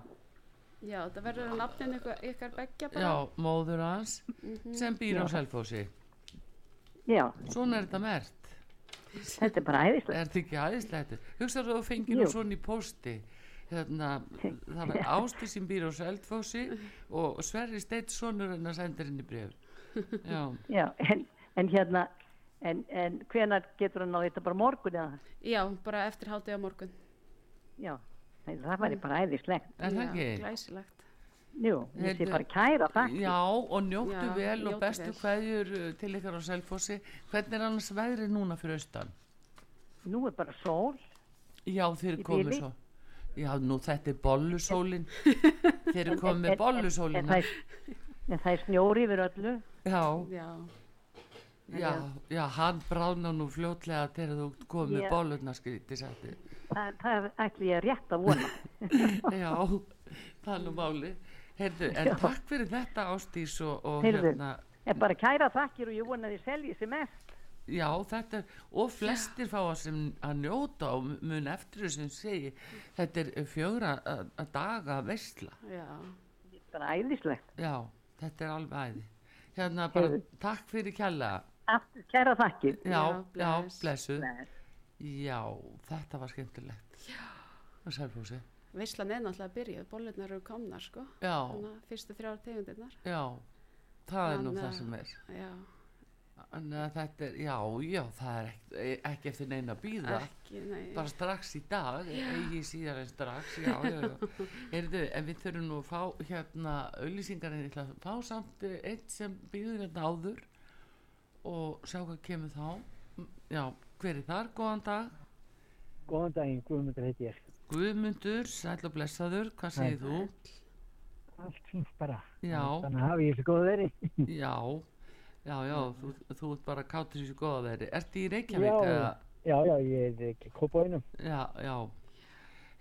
[SPEAKER 2] Já, það verður að nafnin ykkur, ykkar begja bara.
[SPEAKER 1] já, Mhm. móður hans, sem býr á Selfósi.
[SPEAKER 4] já,
[SPEAKER 1] Svona er þetta mert.
[SPEAKER 4] þetta er bara æðislega
[SPEAKER 1] Er þetta ekki aðeinslegt? Hugsaðu að þú fengir nú
[SPEAKER 4] Jú.
[SPEAKER 1] svona í pósti. Hérna, það
[SPEAKER 4] *laughs*
[SPEAKER 1] var Ásti sem býr á Selfósi og Sverri Steitt sonur hennar sendir henni bref. Já,
[SPEAKER 4] Já, en, en hérna en, en hvenar getur hann á þetta bara á morgun eða
[SPEAKER 2] Já, bara eftir hátegi á morgun.
[SPEAKER 4] Já, nei, það væri bara æðislegt
[SPEAKER 1] er það
[SPEAKER 2] Já,
[SPEAKER 1] ekki?
[SPEAKER 2] Glæsilegt.
[SPEAKER 4] Jú, ég sé
[SPEAKER 1] Heyrðu-
[SPEAKER 4] bara kæra það
[SPEAKER 1] Já, og njóttu
[SPEAKER 2] Já,
[SPEAKER 1] vel og
[SPEAKER 2] njóttu
[SPEAKER 1] bestu
[SPEAKER 2] vel.
[SPEAKER 1] kveðjur uh, til ykkar á Selfossi. Hvernig er annars veðrið núna fyrir austan?
[SPEAKER 4] Nú er bara sól
[SPEAKER 1] Já, þeir eru
[SPEAKER 4] Í
[SPEAKER 1] komið
[SPEAKER 4] bili?
[SPEAKER 1] svo. Já, nú þetta er bollusólin.
[SPEAKER 4] *laughs*
[SPEAKER 1] þeir eru komið
[SPEAKER 4] En-
[SPEAKER 1] með
[SPEAKER 4] en- en
[SPEAKER 1] bollusólin.
[SPEAKER 4] það er, en það er snjór yfir öllu
[SPEAKER 1] Já,
[SPEAKER 2] Já,
[SPEAKER 1] já, já, hann bráðna nú fljótlega þegar þú komið
[SPEAKER 4] Já.
[SPEAKER 1] með bollurnaskríti, sætti.
[SPEAKER 4] það, það ætli ég rétt að vona
[SPEAKER 1] Já, það er nú máli. Heyrðu, en takk fyrir þetta Ástís og, og
[SPEAKER 4] Heyrðu.
[SPEAKER 1] hérna,
[SPEAKER 4] en bara kæra þakkir og ég vona að þið selji sem mest
[SPEAKER 1] já, þetta er, og flestir fá að, sem, að njóta og mun eftir þessu sem segi, þetta er fjögra uh, daga veistla.
[SPEAKER 2] já.
[SPEAKER 4] bara æðislegt,
[SPEAKER 1] Já, þetta er alveg æði. Hérna bara takk fyrir kjallaða.
[SPEAKER 4] aftur kæra þakkir
[SPEAKER 1] já, já,
[SPEAKER 2] bless.
[SPEAKER 1] blessu
[SPEAKER 4] Bless.
[SPEAKER 1] já, þetta var skemmtilegt já sælfúsi,
[SPEAKER 2] Veislan er náttúrulega að byrja, bollunar eru komnar sko.
[SPEAKER 1] já,
[SPEAKER 2] Þannig að fyrstu þrjár tegundirnar.
[SPEAKER 1] já það er nú
[SPEAKER 2] Þannig
[SPEAKER 1] það
[SPEAKER 2] að-
[SPEAKER 1] sem er
[SPEAKER 2] Já,
[SPEAKER 1] Þannig að eh, þetta er, já, já, það er ekki, ekki eftir neina að býða
[SPEAKER 2] ekki, nei.
[SPEAKER 1] bara strax í dag, eigi síðar en strax já, já, já, Heyrðu, en við þurfum nú að fá hérna auðlýsingar en ég ætla að fá samt eh, einn sem býður hérna áður og sjá hvað kemur þá Mm, já, hver er þar, góðan dag
[SPEAKER 5] Góðan daginn, Guðmundur heiti ég.
[SPEAKER 1] Guðmundur, sæl og blessaður, hvað segir þú?
[SPEAKER 5] Allt fínt bara.
[SPEAKER 1] Já,
[SPEAKER 5] Þannig að hafi ég þessu góð veri.
[SPEAKER 1] já, já, já, þú, þú ert bara kátur þessu góða veri. Ertu í Reykjavík
[SPEAKER 5] Já.
[SPEAKER 1] eða?
[SPEAKER 5] Já, já, ég er ekki kópaðinum.
[SPEAKER 1] Já, já.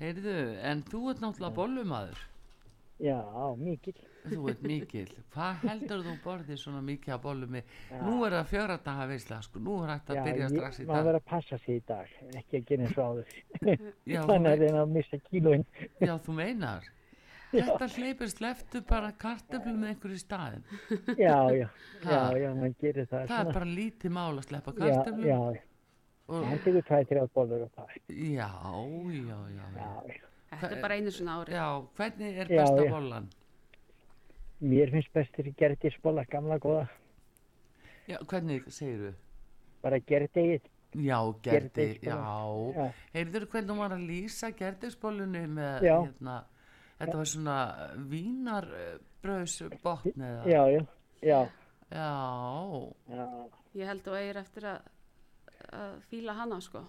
[SPEAKER 1] Heyrðu, en þú ert náttúrulega bollumadur.
[SPEAKER 5] Já, mikið.
[SPEAKER 1] Þú ert mikil.
[SPEAKER 5] *laughs*
[SPEAKER 1] Hvað heldur þú borðið svona mikið af bollumi? Nú er það fjöra daga veisla, sko. Nú er þetta
[SPEAKER 5] Já,
[SPEAKER 1] að byrja strax í
[SPEAKER 5] maður
[SPEAKER 1] dag.
[SPEAKER 5] verður að passa sig í dag, ekki að gera eins og áður.
[SPEAKER 1] Já, þú
[SPEAKER 5] Þannig
[SPEAKER 1] mei-
[SPEAKER 5] að reyna að missa kílóin.
[SPEAKER 1] já, þú
[SPEAKER 5] *laughs*
[SPEAKER 1] meinar. Þetta hleypur sleftu bara kartöflum með einhverju í staðin.
[SPEAKER 5] Já,
[SPEAKER 1] *laughs*
[SPEAKER 5] já, já,
[SPEAKER 1] Ha.
[SPEAKER 5] já, maður gerir það.
[SPEAKER 1] Það er
[SPEAKER 5] svona.
[SPEAKER 1] bara lítið mál að sleppa
[SPEAKER 5] Já,
[SPEAKER 1] kartöflum.
[SPEAKER 5] já,
[SPEAKER 1] og-
[SPEAKER 5] hann tekur tvæ, þrjá bollur og það.
[SPEAKER 1] Já, já, já, já.
[SPEAKER 5] Já, já.
[SPEAKER 2] Þetta er bara einu svona ári.
[SPEAKER 1] Já, hvernig er
[SPEAKER 5] Já,
[SPEAKER 1] besta
[SPEAKER 5] já.
[SPEAKER 1] bollan?
[SPEAKER 5] Mér finnst bestur gerðisbolla, gamla góða.
[SPEAKER 1] Já, hvernig segirðu?
[SPEAKER 5] Bara gerðdegið.
[SPEAKER 1] Já, gerði,
[SPEAKER 5] Gerðisbollan.
[SPEAKER 1] já.
[SPEAKER 5] Já.
[SPEAKER 1] Heyrður hvernig hún var að lýsa gerðisbólunni með,
[SPEAKER 5] Já.
[SPEAKER 1] hérna, þetta var svona vínarbröðsbotn eða?
[SPEAKER 5] Já, já, já.
[SPEAKER 1] Já,
[SPEAKER 5] Já,
[SPEAKER 2] Ég held og eigir eftir að, að fíla hana sko.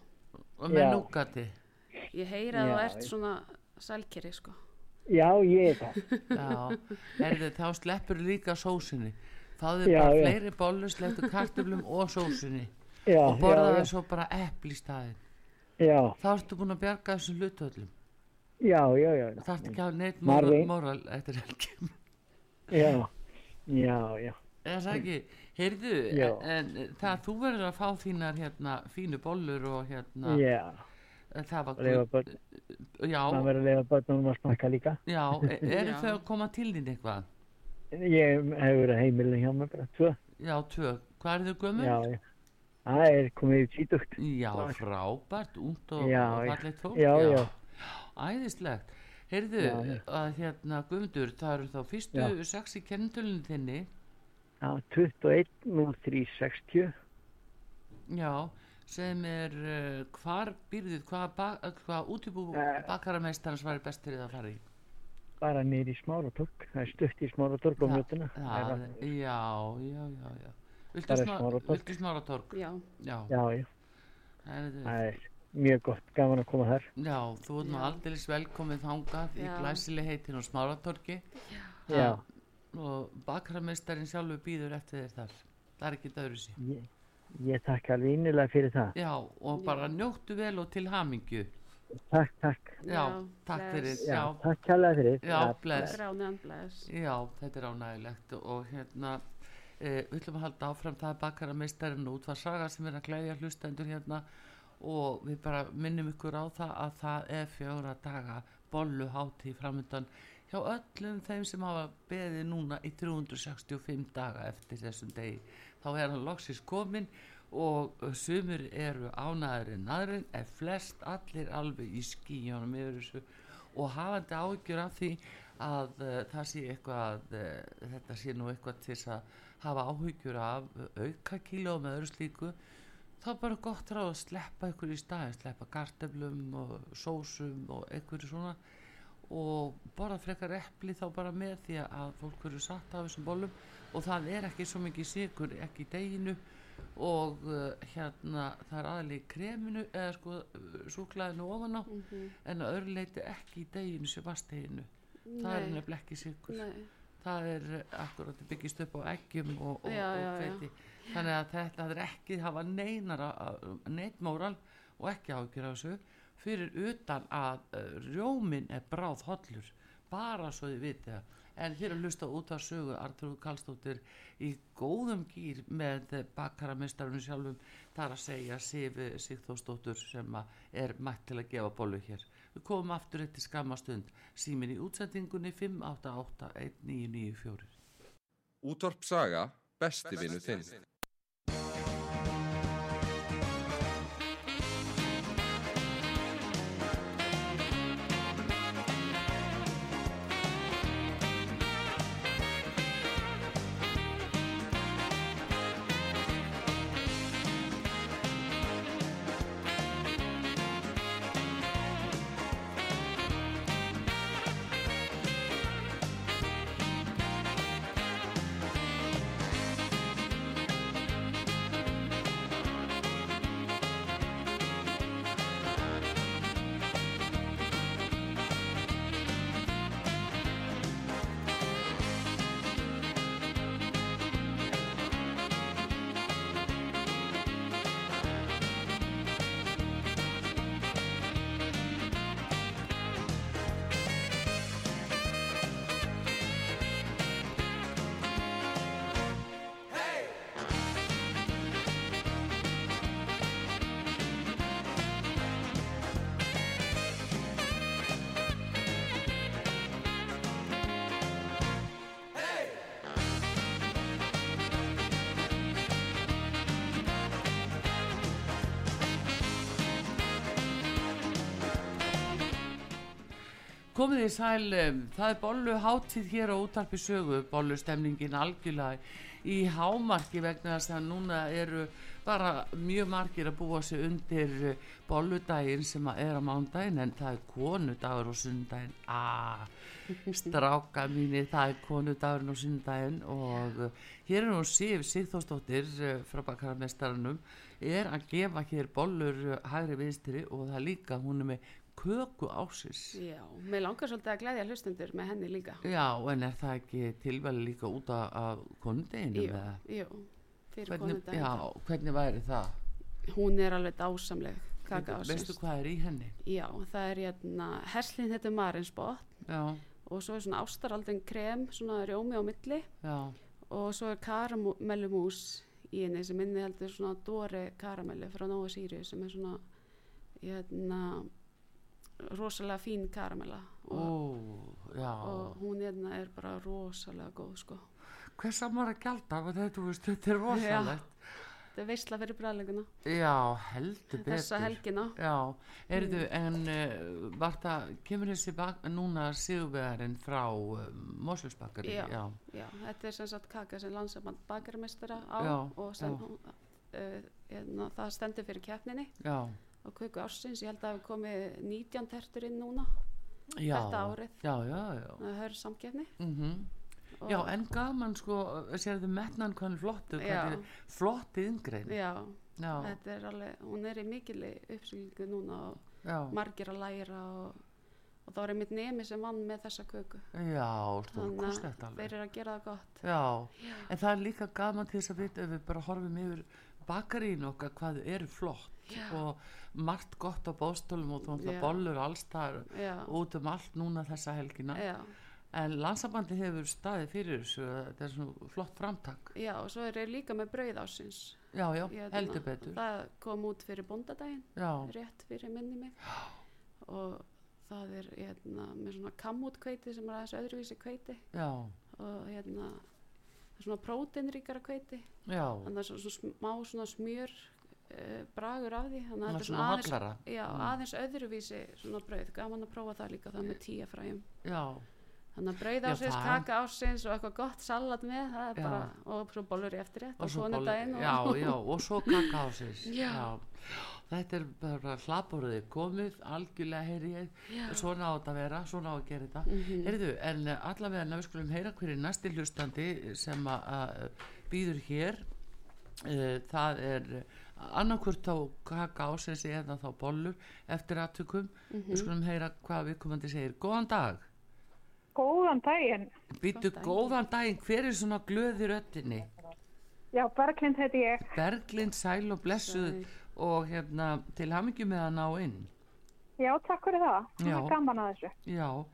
[SPEAKER 1] og með
[SPEAKER 5] Já.
[SPEAKER 1] núgati.
[SPEAKER 2] Ég heyri að þú
[SPEAKER 5] Já,
[SPEAKER 2] ert
[SPEAKER 5] ég-
[SPEAKER 2] svona sælkeri sko.
[SPEAKER 5] já ég er það.
[SPEAKER 1] Já, heyrðu, þá sleppur líka sósunni. Fáðu
[SPEAKER 5] Já,
[SPEAKER 1] bara
[SPEAKER 5] já.
[SPEAKER 1] fleiri bollur, slepptu kartöflum og sósunni.
[SPEAKER 5] Já,
[SPEAKER 1] og
[SPEAKER 5] já,
[SPEAKER 1] borðaði svo bara epli í staðin.
[SPEAKER 5] já,
[SPEAKER 1] Þá ertu búin að bjarga þessum hlutöllum.
[SPEAKER 5] já, já, já, já.
[SPEAKER 1] Það ertu ekki að hafa neitt
[SPEAKER 5] Maður
[SPEAKER 1] moral,
[SPEAKER 5] veit-
[SPEAKER 1] moral eftir helgjum.
[SPEAKER 5] Já, já, já,
[SPEAKER 1] Er það ekki? Heyrðu,
[SPEAKER 5] Já.
[SPEAKER 1] en, en það þú verður að fá þínar hérna fínu bollur og hérna
[SPEAKER 5] já,
[SPEAKER 1] það var
[SPEAKER 5] leifa börn,
[SPEAKER 1] já,
[SPEAKER 5] maður verður að leifa börnum að smakka líka.
[SPEAKER 1] já, e-
[SPEAKER 5] *laughs*
[SPEAKER 1] eru
[SPEAKER 2] Já.
[SPEAKER 1] þau að koma til þín eitthvað?
[SPEAKER 5] Ég hef verið heimilin hjá mér bara tvö,
[SPEAKER 1] Já, tvö, hvað eru þau gömur?
[SPEAKER 5] já, já, það er komið í tvítugt,
[SPEAKER 1] Já, frábært, ungt og,
[SPEAKER 5] Já,
[SPEAKER 1] og
[SPEAKER 5] já.
[SPEAKER 1] fallegt fólk,
[SPEAKER 5] Já, já.
[SPEAKER 1] æðislegt. Heyrðu,
[SPEAKER 5] Já, já.
[SPEAKER 1] að hérna Guðmundur, það eru þá fyrstu
[SPEAKER 5] Já.
[SPEAKER 1] sex í kennendulinu þinni,
[SPEAKER 5] já, 21, 03, 60,
[SPEAKER 1] Já, sem er uh, hvar býrðið, hvað, ba hvað útibú
[SPEAKER 5] Eh.
[SPEAKER 1] bakarameistarans var best fyrir það að fara í?
[SPEAKER 5] bara niður í smáratorg það er stutt í smáratorg á
[SPEAKER 1] Þa-
[SPEAKER 5] mjötuna
[SPEAKER 1] Það, já, já, já, já. Viltu,
[SPEAKER 5] Bara
[SPEAKER 1] smá,
[SPEAKER 5] Smáratorg.
[SPEAKER 1] viltu smáratorg?
[SPEAKER 2] já,
[SPEAKER 1] Já,
[SPEAKER 5] já, já,
[SPEAKER 1] já.
[SPEAKER 5] það er mjög gott gaman að koma þar
[SPEAKER 1] já þú ert nú
[SPEAKER 2] Já.
[SPEAKER 1] aldeilis velkomið þangað í
[SPEAKER 2] Já.
[SPEAKER 1] glæsileg heitin á smáratorgi
[SPEAKER 5] já,
[SPEAKER 1] og bakarameistarinn sjálfur býður eftir þér þar. Það er ekkert öðru sér.
[SPEAKER 5] ég, ég takk alveg innilega fyrir það
[SPEAKER 1] Já, og bara njóttu vel og til hamingju.
[SPEAKER 5] takk, takk,
[SPEAKER 1] Já, takk fyrir.
[SPEAKER 5] já,
[SPEAKER 1] Já.
[SPEAKER 5] takk kærlega fyrir
[SPEAKER 1] Já, bless.
[SPEAKER 2] Gránaðan bless
[SPEAKER 1] Já, þetta er ánægilegt og hérna eh, við ætlum að halda áfram það er bakarameistarinn og útvarsaga sem er að glæðja hlustendur hérna og við bara minnum ykkur á það að það er fjóra daga bolluhátti framöndan hjá öllum þeim sem hafa beðið núna í 365 daga eftir þessum degi þá er hann loksins komin og eh, sumir eru ánæður en aðrin en flest allir alveg í skíjónum yfir þessu og hafandi áhyggjur af því að uh, það sé eitthvað uh, þetta sé nú eitthvað til þess að hafa áhyggjur af uh, auka kíló með öðru slíku þá er bara gott ráð að sleppa ykkur í staðin sleppa kartöflum og sósum og einhverju svona og borða frekar epli þá bara með því að fólk verður satt af þessum bollum og það er ekki svo mikið sigur ekki í deginu og uh, hérna það er aðalegi kreminu eða sko súklaðinu ofan á
[SPEAKER 2] mm -hmm.
[SPEAKER 1] en að öðru leiti ekki í deginu sem vasteginu það er nefnilega ekki sigur
[SPEAKER 2] Nei,
[SPEAKER 1] það er eh, akkurat byggist upp á eggjum og, og,
[SPEAKER 2] Já, já,
[SPEAKER 1] og
[SPEAKER 2] já.
[SPEAKER 1] hveiti þannig að þetta er ekki hafa neinar neitmóral og ekki ágjur á þessu fyrir utan að uh, rjómin er bráð hollur bara svo þið vitið það en hér að hlusta út af sögu Artur Kallstóttir í góðum gýr með bakarameistarunum sjálfum þar að segja Sif Sigþórsdóttur sem að er mætt til að gefa bólu hér við komum aftur eitt til skamastund símin í útsendingunni 588 1994
[SPEAKER 6] Útvarp Saga, besti vinnu þinn.
[SPEAKER 1] Komið í sæl, um, það er bollu hátíð hér á útarpi sögu, bollustemningin algjörlega í hámarki vegna þess að núna eru bara mjög margir að búa sig undir eh, bolludaginn sem að er á mándaginn en það er konudagur og sundaginn, aaa, stráka mínir, það er konudagurinn og sundaginn og eh, hér er nú Sif Sigþórsdóttir eh, frá bakaramestaranum er að gefa hér bollur eh, hægri vinstri og það er líka hún er með köku ásins.
[SPEAKER 2] já, mér langar svolítið að glæðja hlustendur með henni líka
[SPEAKER 1] Já, en er það ekki tilvæli líka út af- af kondeginu
[SPEAKER 2] Jú,
[SPEAKER 1] með það?
[SPEAKER 2] jú, fyrir
[SPEAKER 1] Hvernig,
[SPEAKER 2] konundaginn.
[SPEAKER 1] já, hvernig væri það?
[SPEAKER 2] Hún er alveg dásamleg kaka
[SPEAKER 1] Veistu
[SPEAKER 2] ásins.
[SPEAKER 1] hvað er í henni?
[SPEAKER 2] Já, það er hérna, herslinn þetta er marinsbott
[SPEAKER 1] Já,
[SPEAKER 2] og svo er svona ástaraldin krem, svona rjómi á milli
[SPEAKER 1] já,
[SPEAKER 2] og svo er karamellumús í henni sem inni heldur svona dóri karamellu frá Nóa Sýri sem er svona hérna, rosalega fín karamella og,
[SPEAKER 1] ó, já.
[SPEAKER 2] og hún hérna er bara rosalega góð sko.
[SPEAKER 1] Hvers að maður að gjalda af þetta, þú veist, þetta er rosalegt.
[SPEAKER 2] Þetta er veistla fyrir bræðleguna
[SPEAKER 1] Já, heldur betur.
[SPEAKER 2] þessa Mm. helgina.
[SPEAKER 1] Já, erðu, en uh, var það, kemur þessi bak, núna sigurvegarinn frá uh, Mosulsbakari?
[SPEAKER 2] Já,
[SPEAKER 1] já,
[SPEAKER 2] Já, þetta er sem sagt kaka sem landsamband bakarmeistara á
[SPEAKER 1] Já,
[SPEAKER 2] og sem
[SPEAKER 1] já.
[SPEAKER 2] hún, uh, hérna, það stendur fyrir keppninni
[SPEAKER 1] já,
[SPEAKER 2] á köku ársins, ég held að það hafi komið 19 tertur inn núna
[SPEAKER 1] já.
[SPEAKER 2] Þetta árið.
[SPEAKER 1] Já, já, já.
[SPEAKER 2] það höfður samkeppni
[SPEAKER 1] Mm
[SPEAKER 2] og,
[SPEAKER 1] Já, en gaman sko, sérðu metnan hvernig flottu,
[SPEAKER 2] Já.
[SPEAKER 1] hvernig flott yngrein.
[SPEAKER 2] já,
[SPEAKER 1] Já,
[SPEAKER 2] þetta er alveg, hún er í mikil uppsýlingu núna og
[SPEAKER 1] já,
[SPEAKER 2] margir að læra og, og það var einmitt nemi sem vann með þessa köku
[SPEAKER 1] já,
[SPEAKER 2] þannig
[SPEAKER 1] stórkoslegt
[SPEAKER 2] að
[SPEAKER 1] alveg.
[SPEAKER 2] þeir eru að gera það gott
[SPEAKER 1] Já, en það er líka gaman til þess að vita ef við bara horfum yfir bakarín okkar hvað þau eru flott
[SPEAKER 2] Já.
[SPEAKER 1] og margt gott á bóstólum og
[SPEAKER 2] Já.
[SPEAKER 1] þú náttúrulega bollur alls þar
[SPEAKER 2] já,
[SPEAKER 1] út um allt núna þessa helgina
[SPEAKER 2] já,
[SPEAKER 1] en landsabandi hefur staðið fyrir þessu þetta er svona flott framtak
[SPEAKER 2] já og svo eru þeir líka með brauð ársins
[SPEAKER 1] já, já,
[SPEAKER 2] Ég- hérna,
[SPEAKER 1] heldur betur
[SPEAKER 2] það kom út fyrir bóndadaginn
[SPEAKER 1] já,
[SPEAKER 2] rétt fyrir minni mig og það er hérna, með svona kammút kveiti sem er aðeins öðruvísi kveiti
[SPEAKER 1] já,
[SPEAKER 2] og hérna það er svona próteinríkara kveiti
[SPEAKER 1] já
[SPEAKER 2] þannig að það er svona smá svona smjör uh, bragur af því þannig að
[SPEAKER 1] það
[SPEAKER 2] þetta
[SPEAKER 1] er
[SPEAKER 2] er svona
[SPEAKER 1] svona
[SPEAKER 2] aðeins,
[SPEAKER 1] hallara
[SPEAKER 2] já,
[SPEAKER 1] Mm.
[SPEAKER 2] aðeins öðruvísi svona brauð, gaman að prófa það líka það með tíja fræjum
[SPEAKER 1] já,
[SPEAKER 2] þannig að brauð
[SPEAKER 1] Já,
[SPEAKER 2] ásins,
[SPEAKER 1] það-
[SPEAKER 2] kaka ásins og eitthvað gott salat með það er
[SPEAKER 1] Já.
[SPEAKER 2] bara, og svo bollur í eftirrétt og, og
[SPEAKER 1] svo
[SPEAKER 2] svona um
[SPEAKER 1] boll-
[SPEAKER 2] daginn
[SPEAKER 1] já, já, og svo kakásins
[SPEAKER 2] Já.
[SPEAKER 1] þetta er bara hlaporðið komið algjörlega heyri ég
[SPEAKER 2] Já. Mhm.
[SPEAKER 1] svona á þetta að vera, svona á að gera þetta heyrðu, en eh, allavega ná, við skulum heyra hverju næsti hlustandi sem að- að býður hér Eh, það er annarkvört þá kaka ásins eða þá bollur eftir aðtökum
[SPEAKER 2] Mhm.
[SPEAKER 1] við skulum heyra hvað viðkomandi segir góðan dag,
[SPEAKER 7] Góðan daginn.
[SPEAKER 1] býttu
[SPEAKER 2] daginn.
[SPEAKER 1] góðan daginn hver er svona glöð í röttinni
[SPEAKER 7] Já, Berglind heiti ég.
[SPEAKER 1] Berglind sæl og blessuð
[SPEAKER 2] Sæl.
[SPEAKER 1] og hérna til hamingju með að ná inn
[SPEAKER 7] Já, takk fyrir það. Það
[SPEAKER 1] Já.
[SPEAKER 7] er gaman að þessu.
[SPEAKER 1] já,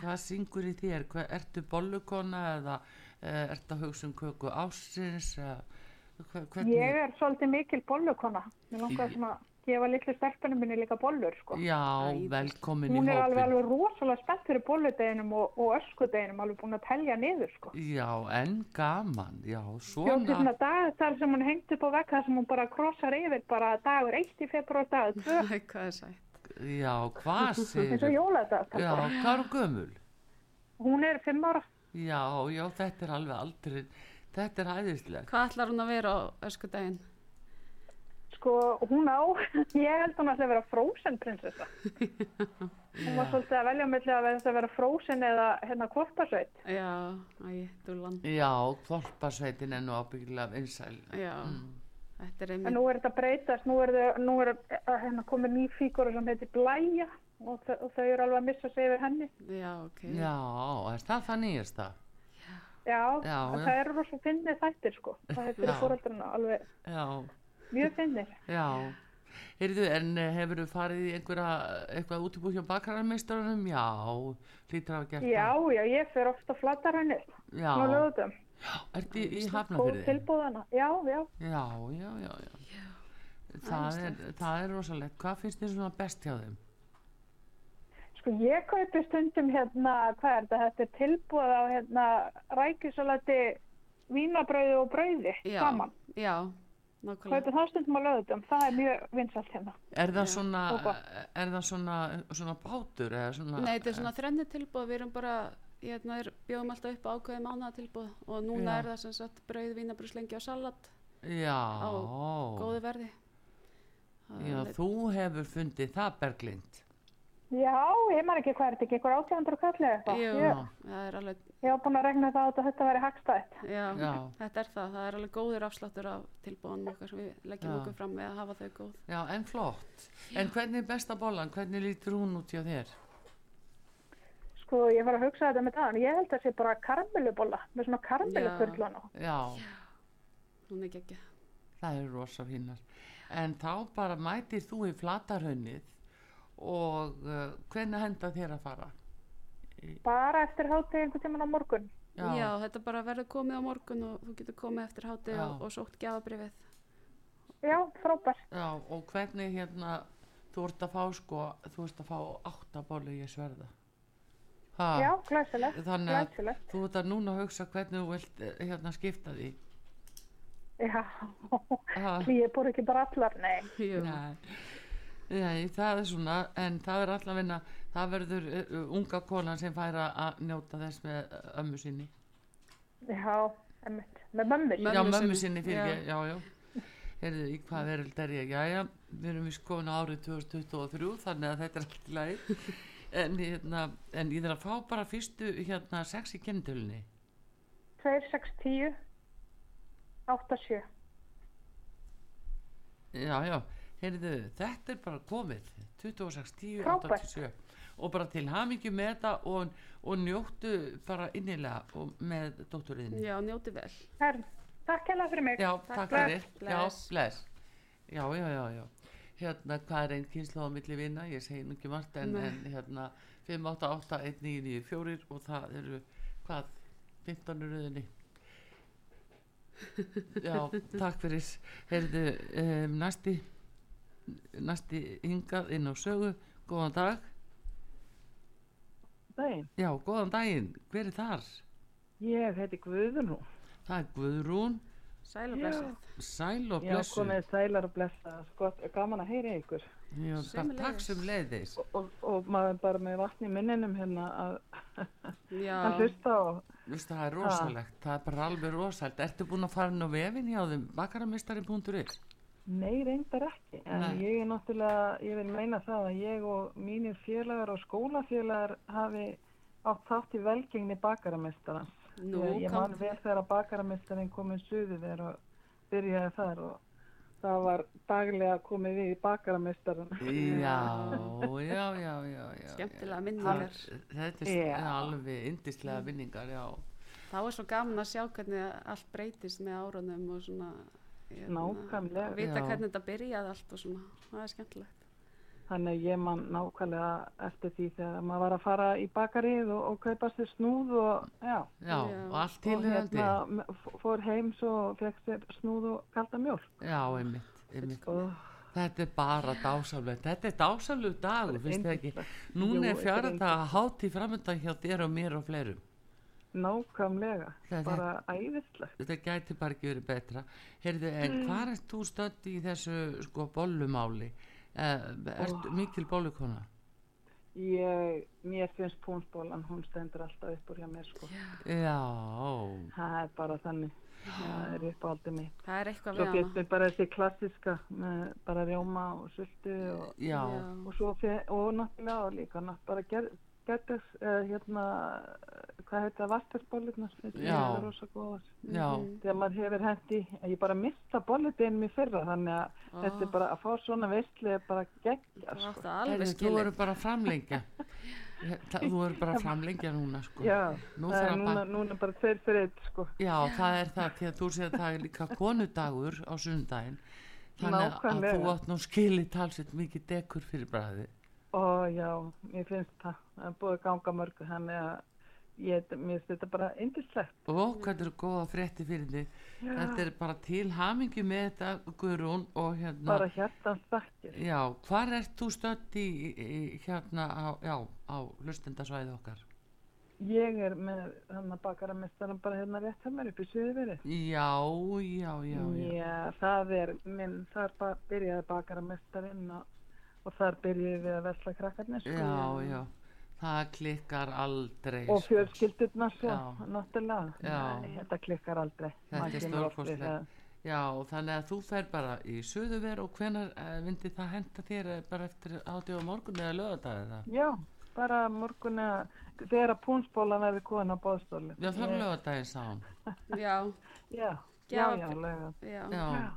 [SPEAKER 1] hvað syngur í þér hvað, ertu bollukona eða e, ertu að hugsa um köku ásins eða, hva, hvernig
[SPEAKER 7] Ég er svolítið mikil bollukona. Mér
[SPEAKER 1] Í-
[SPEAKER 7] langaði svona að gefa litlu stelpunum minni líka bollur, sko.
[SPEAKER 1] já,
[SPEAKER 2] Æ,
[SPEAKER 1] velkomin í
[SPEAKER 7] Hún er alveg,
[SPEAKER 1] hópin
[SPEAKER 7] alveg rosalega spennt fyrir bolludeginum og, og öskudeginum, alveg búin að telja niður, sko.
[SPEAKER 1] já, en gaman já,
[SPEAKER 7] Bjóti
[SPEAKER 1] svona
[SPEAKER 7] svona dagatal sem hún hengt upp á vekk þar sem hún bara krossar yfir bara dagur 1 í februar og dagur 2
[SPEAKER 2] *laughs* Æ, hvað er sætt
[SPEAKER 1] já, hvað
[SPEAKER 7] eins og
[SPEAKER 1] segir já,
[SPEAKER 7] jóladagal.
[SPEAKER 1] hvað er hún gömul
[SPEAKER 7] Hún er 5 ára.
[SPEAKER 1] já, já, þetta er alveg aldrei þetta er æðislega
[SPEAKER 2] hvað ætlar hún að vera á öskudaginn
[SPEAKER 7] Sko, hún á, *laughs* ég held hún ætla að vera frozen prinsessa. Hún var svolítið að velja millir að vera, að vera frozen eða hérna kvortasveit.
[SPEAKER 2] já, æ, dúlan
[SPEAKER 1] já, þorpasveitin er nú ábyggilega vinsæl
[SPEAKER 2] já,
[SPEAKER 1] Mm.
[SPEAKER 2] þetta er
[SPEAKER 7] En
[SPEAKER 2] einmitt
[SPEAKER 7] nú er þetta að breytast, nú er, þau- nú er eh, hérna komið ný fígur sem heitir Blæja og, þau- og þau eru alveg að missa sig yfir henni.
[SPEAKER 2] já, ok,
[SPEAKER 1] já, er það það nýjasta Já,
[SPEAKER 7] Já, en
[SPEAKER 1] já.
[SPEAKER 7] það eru rosa finnir þættir
[SPEAKER 1] *laughs*
[SPEAKER 7] sko. Það er fyrir
[SPEAKER 1] Já.
[SPEAKER 7] fóröldrarna alveg
[SPEAKER 1] já
[SPEAKER 7] mjög finnir.
[SPEAKER 1] Já, heyrðu, en hefur þú farið í einhverja, eitthvað útibú hjá bakararmeistarunum? Já, hlýtur að hafa gert
[SPEAKER 7] Já,
[SPEAKER 1] það.
[SPEAKER 7] já, ég fyrir ofta flattar henni.
[SPEAKER 1] Já,
[SPEAKER 7] Nú
[SPEAKER 1] já,
[SPEAKER 7] lögutum.
[SPEAKER 1] ertu í, í
[SPEAKER 7] Góð
[SPEAKER 1] hafnafyrði?
[SPEAKER 7] tilbúðana. Já, já.
[SPEAKER 1] Já, já, já, já. Það er, það er rosalegt. Hvað finnst þér svona best hjá þeim?
[SPEAKER 7] Sko ég kaupi stundum hérna, hvað er þetta, þetta er tilbúið á hérna rækjusalati, vínabrauði og brauði
[SPEAKER 2] já,
[SPEAKER 7] saman.
[SPEAKER 2] já, nákvæmlega
[SPEAKER 7] Kaupi það stundum á löðutum, það er mjög vinsalt hérna.
[SPEAKER 1] Er það, svona,
[SPEAKER 7] og gott.
[SPEAKER 1] er það svona, svona bátur eða svona...
[SPEAKER 2] Nei, þetta er svona þrennu tilbúð, við erum bara, hérna, er, bjóðum alltaf upp á ákveði mánaða og núna
[SPEAKER 1] Já.
[SPEAKER 2] er það sem sagt brauð, vínabrúslengi og salat,
[SPEAKER 1] Já,
[SPEAKER 2] góðu verði. Það
[SPEAKER 1] já,
[SPEAKER 2] er-
[SPEAKER 1] þú hefur fundið það, Berglind.
[SPEAKER 7] Já, ég maður ekki hvað er þetta, ekki eitthvað átjöndur kallið eitthvað.
[SPEAKER 2] Jú,
[SPEAKER 7] Ég,
[SPEAKER 2] það er alveg,
[SPEAKER 7] ég var búin að regna það át að þetta væri hagstætt.
[SPEAKER 2] já,
[SPEAKER 1] Já.
[SPEAKER 2] þetta er það, það er alveg góður afsláttur af tilbúðanum okkar sem við leggjum
[SPEAKER 1] Já.
[SPEAKER 2] okkur fram með að hafa þau góð.
[SPEAKER 1] Já, en flott. En hvernig er besta bollan? Hvernig lítur hún út hjá þér?
[SPEAKER 7] Sko ég var að hugsa þetta með dagann, ég held að það sé bara karmelubolla, með svona karmelukurlana.
[SPEAKER 1] Já,
[SPEAKER 2] Hún er geggja.
[SPEAKER 1] það eru rosa fínar. En þá bara mætir þú í flatarhaunnið og uh, hvernig henda þér að fara?
[SPEAKER 7] Bara eftir hátið einhvern tíman á morgun.
[SPEAKER 2] Já. þetta bara verður komið á morgun og þú getur komið eftir hátíð
[SPEAKER 1] Já.
[SPEAKER 2] og, og sótt gjafabrifið.
[SPEAKER 7] Já, frábært.
[SPEAKER 1] Já, og hvernig hérna, þú ert að fá sko, þú ert að fá átta bollu ég sverða. Ha,
[SPEAKER 7] Já, glæsilegt.
[SPEAKER 1] Ah. Þannig að
[SPEAKER 7] Glæsilegt.
[SPEAKER 1] þú ert að núna hugsa hvernig þú vilt eh, hérna skipta því.
[SPEAKER 7] Já,
[SPEAKER 1] Ha.
[SPEAKER 7] ég bor ekki bara allar, nei.
[SPEAKER 2] Jú,
[SPEAKER 1] Nei. Nei, það er svona, en það er allavegna, það verður uh, unga konan sem fær að- að njóta þess með eh, ömmu sinni.
[SPEAKER 7] Já, emmitt. Með mömmu.
[SPEAKER 2] Mömmu
[SPEAKER 1] já, mömmu
[SPEAKER 2] sinni.
[SPEAKER 1] sinni fyrir
[SPEAKER 2] Já.
[SPEAKER 1] ekki, já, já. heyrðu, í hvað veröld er ég? Jæja, við erum í skona árið 2023, þannig að þetta er allt í lagi. En, hérna, en ég þarf að fá bara fyrstu hérna sex í kennitölunni.
[SPEAKER 7] 2, 6, 10, 8, 7.
[SPEAKER 1] Já, já, heyrðu, þetta er bara komið. 26, 10,
[SPEAKER 7] Frábært.
[SPEAKER 1] 87. Og bara til hamingju með þetta og, og njóttu bara innilega og, með dótturiðinni.
[SPEAKER 2] Já, njóti vel.
[SPEAKER 7] Hern, takk hella fyrir mig.
[SPEAKER 1] Já, takk fyrir. Já,
[SPEAKER 2] Bless.
[SPEAKER 1] bless. Já, já, já, já. Hérna, hvað er einn kynslu á milli vina? Ég segi nú ekki margt en,
[SPEAKER 2] Nei.
[SPEAKER 1] en hérna 5881994 og það eru, hvað, 15
[SPEAKER 2] *laughs*
[SPEAKER 1] röðinni. Já, takk fyrir. Heyrðu, um, næsti, næsti hingað inn á sögu. Góðan dag.
[SPEAKER 8] Daginn.
[SPEAKER 1] Já, góðan daginn. Hver er þar?
[SPEAKER 8] Ég heiti Guðrún.
[SPEAKER 1] Það er Guðrún,
[SPEAKER 2] Sæl og blessað.
[SPEAKER 1] sæl og
[SPEAKER 8] Já,
[SPEAKER 1] blessu.
[SPEAKER 8] komið sælar og blessaðar. Sko, gaman að heyra ykkur.
[SPEAKER 1] Já, bara takk
[SPEAKER 2] Sömuleiðis.
[SPEAKER 1] sem leiðis.
[SPEAKER 8] Og, og, og maður er bara með vatn í munninum hérna að, að
[SPEAKER 2] Já,
[SPEAKER 8] hlusta og
[SPEAKER 1] Vistu, það er rosalegt, það er bara alveg rosalegt. Ertu búin að fara inn á vefin hjá þeim, bakaramistari.is?
[SPEAKER 8] nei, reyndar ekki. En
[SPEAKER 1] Nei.
[SPEAKER 8] ég er náttúrulega, ég vil meina það að ég og mínir félagar og skólafélagar hafi átt þátt í velgengni bakaramestara.
[SPEAKER 2] nú
[SPEAKER 8] ég, ég man
[SPEAKER 2] kom
[SPEAKER 8] vel þegar að bakaramestarin komið suðu þér og byrjaði þar og það var daglega komið við í bakaramestaran.
[SPEAKER 1] Já, já, já, já, já.
[SPEAKER 2] skemmtilega
[SPEAKER 1] Það-
[SPEAKER 2] minningar.
[SPEAKER 1] Þetta er
[SPEAKER 8] Já.
[SPEAKER 1] yeah. alveg indislega vinningar, já.
[SPEAKER 2] Þá er svo gaman að sjá hvernig allt breytist með árunum og svona hérna,
[SPEAKER 8] Nákvæmlega.
[SPEAKER 2] að Vita
[SPEAKER 1] Já.
[SPEAKER 2] hvernig þetta byrjaði allt og svona, það er skemmtilegt.
[SPEAKER 8] Þannig að ég man nákvæmlega eftir því þegar maður var að fara í bakarið og, og kaupa sér snúð og já.
[SPEAKER 1] Já,
[SPEAKER 2] Já.
[SPEAKER 1] og allt
[SPEAKER 8] Og
[SPEAKER 1] tilhengandi.
[SPEAKER 8] hérna m- f- fór heim svo og fekk sér snúð og kalda mjólk.
[SPEAKER 1] Já, einmitt, einmitt.
[SPEAKER 8] Og
[SPEAKER 1] Þetta er bara dásamlegt. Þetta er dásamlegu dagur, finnst þið ekki?
[SPEAKER 8] Jú,
[SPEAKER 1] Núna er
[SPEAKER 8] þetta er
[SPEAKER 1] fjara
[SPEAKER 8] yndislegt.
[SPEAKER 1] dag hátíð framöndan hjá þér og mér og fleirum.
[SPEAKER 8] nákvæmlega.
[SPEAKER 1] Það er-
[SPEAKER 8] Bara æðislegt.
[SPEAKER 1] Þetta gæti bara ekki verið betra. Heyrðu, en mm. hvað er þú stönd í þessu sko bollumáli? Eh, ertu mikil bollukona?
[SPEAKER 8] Ég, mér finnst púnsbólan, hún stendur alltaf upp úr hjá mér sko.
[SPEAKER 1] Já,
[SPEAKER 8] Það er bara þannig. Það er uppáldið mitt.
[SPEAKER 2] Það er eitthvað
[SPEAKER 8] Svo
[SPEAKER 2] við
[SPEAKER 8] finnst
[SPEAKER 2] hana.
[SPEAKER 8] mér bara þessi klassiska með bara rjóma og sultu og
[SPEAKER 1] já,
[SPEAKER 8] og svo fe- og náttúrulega og líka nátt- bara gerðis uh, hérna eh, hvað heitir það, vastarsbólurnar
[SPEAKER 1] Já.
[SPEAKER 8] það er rosa góðar
[SPEAKER 1] já,
[SPEAKER 8] þegar maður hefur hendi, ég bara mista bólutinum í fyrra þannig að
[SPEAKER 1] Ah.
[SPEAKER 2] Ó.
[SPEAKER 8] þetta er bara að fá svona veistlu er bara geggja
[SPEAKER 2] Það átti
[SPEAKER 8] sko.
[SPEAKER 2] það
[SPEAKER 1] Heyrðu,
[SPEAKER 2] alveg
[SPEAKER 1] þú
[SPEAKER 2] skilið.
[SPEAKER 1] eru bara að framlengja. Það- þú eru bara að framlengja núna, sko.
[SPEAKER 8] já,
[SPEAKER 1] Nú
[SPEAKER 8] það
[SPEAKER 1] þarf
[SPEAKER 8] er
[SPEAKER 1] að
[SPEAKER 8] núna,
[SPEAKER 1] bæ-
[SPEAKER 8] núna bara tveir fyrir eitt sko
[SPEAKER 1] Já, það er það, því að þú séð að það er líka konudagur á sundaginn. Þannig að
[SPEAKER 8] Nákvæmlega.
[SPEAKER 1] þú átt nú skilið talsett mikið dekur fyrir bræði.
[SPEAKER 8] og já, mér finnst það það er búið að ganga mörgu þannig að ég, mér finnst þetta bara indislegt
[SPEAKER 1] Og hvað eru góða frétti fyrir þig. Þetta er bara til hamingi með þetta, Guðrún, og hérna...
[SPEAKER 8] bara hjartans þakkir
[SPEAKER 1] Já, hvar ert þú stödd í, í í- hérna á, já, á hlustendasvæði okkar?
[SPEAKER 8] ég er með hann að bakaramestaran bara hérna rétt hjá mér upp í suðverið
[SPEAKER 1] Já, já, já, já.
[SPEAKER 8] Já, það er minn, þar ba- byrjaði bakaramestarinn og, og þar byrjuði við að vesla krakkarnir sko.
[SPEAKER 1] Já, já, það klikkar aldrei.
[SPEAKER 8] Og
[SPEAKER 1] sko.
[SPEAKER 8] fjölskyldurnar svo,
[SPEAKER 1] Já.
[SPEAKER 8] náttúrulega.
[SPEAKER 1] Já.
[SPEAKER 8] Nei, Þetta klikkar aldrei.
[SPEAKER 1] Þetta
[SPEAKER 8] Maður
[SPEAKER 1] er
[SPEAKER 8] kemur oft við
[SPEAKER 1] stórkostlegt. Já, og þannig að þú fer bara í suðuver og hvenar uh, myndi það henda þér eh, bara eftir átjóð á morgun eða lögadagið það?
[SPEAKER 8] það. Já, bara morgun eða, þegar að púnsbólan verður kona á bóðstóli.
[SPEAKER 1] Já, það er lögadagið sáum.
[SPEAKER 2] Já,
[SPEAKER 8] Já, já,
[SPEAKER 2] Gjafabréf.
[SPEAKER 8] já, lega.
[SPEAKER 2] já.
[SPEAKER 1] Já,
[SPEAKER 8] Já.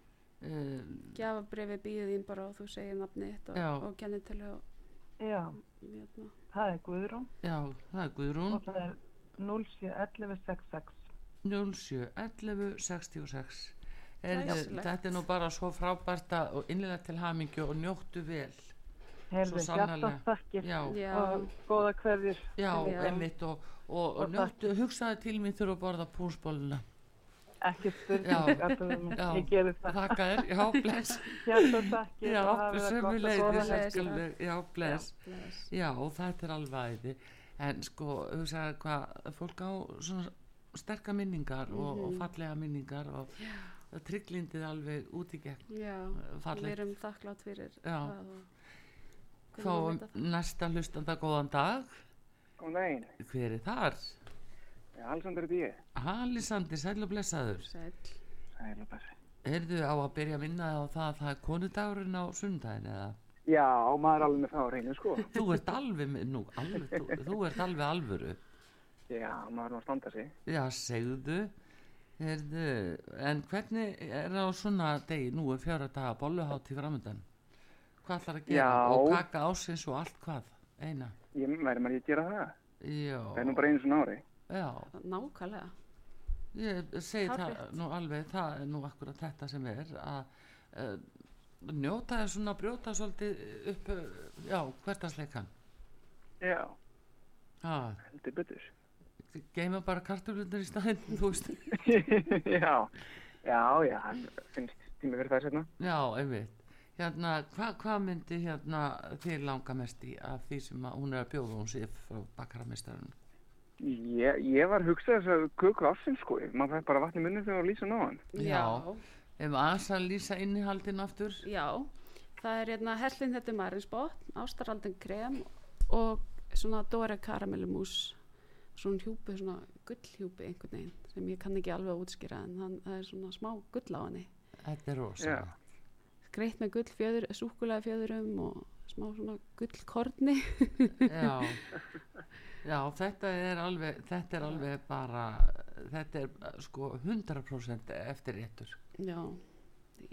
[SPEAKER 1] uh,
[SPEAKER 2] Gjafabrifi býðið þín bara og þú segir nafnið þitt
[SPEAKER 1] Já.
[SPEAKER 2] og, og kennitölu og
[SPEAKER 8] Já,
[SPEAKER 2] hérna.
[SPEAKER 8] það er Guðrún
[SPEAKER 1] já, það er Guðrún
[SPEAKER 8] og það er 071166.
[SPEAKER 1] 07 11 66. Er,
[SPEAKER 2] Glæsilegt.
[SPEAKER 1] þetta er nú bara svo frábært að- og innlega til hamingju og njóttu vel.
[SPEAKER 8] Herðu,
[SPEAKER 1] sannarlega.
[SPEAKER 8] hjartans þakkir
[SPEAKER 1] Já,
[SPEAKER 2] Já,
[SPEAKER 8] og góða hverjur.
[SPEAKER 1] já,
[SPEAKER 2] Já.
[SPEAKER 1] einmitt og, og, og
[SPEAKER 8] Og
[SPEAKER 1] njóttu, hugsaði til mín þurfa að borða púnsbóluna.
[SPEAKER 8] Ekki
[SPEAKER 1] Já.
[SPEAKER 8] spurning, Artur,
[SPEAKER 1] Já.
[SPEAKER 8] ég gerir það.
[SPEAKER 1] Þakka þér, já, bless.
[SPEAKER 8] Hjartans þakkir
[SPEAKER 1] Já,
[SPEAKER 8] og hafið það
[SPEAKER 1] sömu
[SPEAKER 8] gott og góða
[SPEAKER 1] leiðis,
[SPEAKER 8] helgi.
[SPEAKER 2] helgi.
[SPEAKER 1] elskuleg, já, bless.
[SPEAKER 2] bless.
[SPEAKER 1] Já, þetta er alveg æði. En sko, hugsaði hvað, fólk á svona sterka minningar og, og fallega minningar og það trygglindið alveg út í gegn.
[SPEAKER 2] já,
[SPEAKER 1] Fallegt.
[SPEAKER 2] við erum þakklátt fyrir
[SPEAKER 1] Já.
[SPEAKER 2] það og
[SPEAKER 1] Fáum
[SPEAKER 2] Guðrún veit það.
[SPEAKER 1] næsta hlustanda góðan dag.
[SPEAKER 9] Góðan daginn,
[SPEAKER 1] Hver er þar?
[SPEAKER 9] Eh, Alexander D.
[SPEAKER 1] Alisandi, sæl og blessaður.
[SPEAKER 2] Sæll.
[SPEAKER 9] Sæl og blessi.
[SPEAKER 1] heyrðu á að byrja að vinna á það að það er konudagurinn á sundaginn eða?
[SPEAKER 9] Já, maður er alveg með það á reynu, *laughs* sko.
[SPEAKER 1] Þú ert alveg, með- nú, alveg, þú, þú ert alveg alvöru.
[SPEAKER 9] Já, maður er nú að standa sig.
[SPEAKER 1] Já, segðu, heyrðu, en hvernig er það á svona degi, nú er fjóra daga bolluhátt í framöndan? Hvað ætlar að gera?
[SPEAKER 9] Já.
[SPEAKER 1] Og kaka ásins og allt hvað, eina.
[SPEAKER 9] Ég verður maður ekki að gera það.
[SPEAKER 1] Já,
[SPEAKER 9] Það er nú bara einu svona ári.
[SPEAKER 1] já,
[SPEAKER 2] nákvæmlega
[SPEAKER 1] ég segi það
[SPEAKER 2] Hárrétt.
[SPEAKER 1] nú alveg, það er nú akkurat þetta sem er að uh, njóta þess svona brjóta svolítið upp, eh, já, hvertasleikan.
[SPEAKER 9] Já,
[SPEAKER 1] Já,
[SPEAKER 9] heldur betur.
[SPEAKER 1] geima bara kartulundir í staðinn, *laughs* þú veist.
[SPEAKER 9] *laughs* já, já, já, finnst tími fyrir það setna.
[SPEAKER 1] Já, einmitt. Hérna, hva- hvað myndi hérna þið langa mest í af því sem að hún er að bjóða hún sér frá bakarameistarinn?
[SPEAKER 9] Ég, ég var að hugsa þess að köku ásins, sko. Maður fær bara vatn í munni þegar maður lýsa náðan.
[SPEAKER 1] Já. Ef aðeins að lýsa innihaldin aftur?
[SPEAKER 2] Já, það er hérna hellin þetta marinsbótt, ástaraldin krem og svona Dore karamellumús svona hjúpi, svona gullhjúpi einhvern veginn sem ég kann ekki alveg að útskýra en hann, það er svona smá gull á henni
[SPEAKER 1] Þetta er rosa.
[SPEAKER 9] Já.
[SPEAKER 2] greitt með gull fjöður, súkulega fjöðurum og smá svona gullkorni
[SPEAKER 1] Já. Já, þetta er alveg, þetta er alveg bara, þetta er eh, sko 100% eftir réttur.
[SPEAKER 2] Já,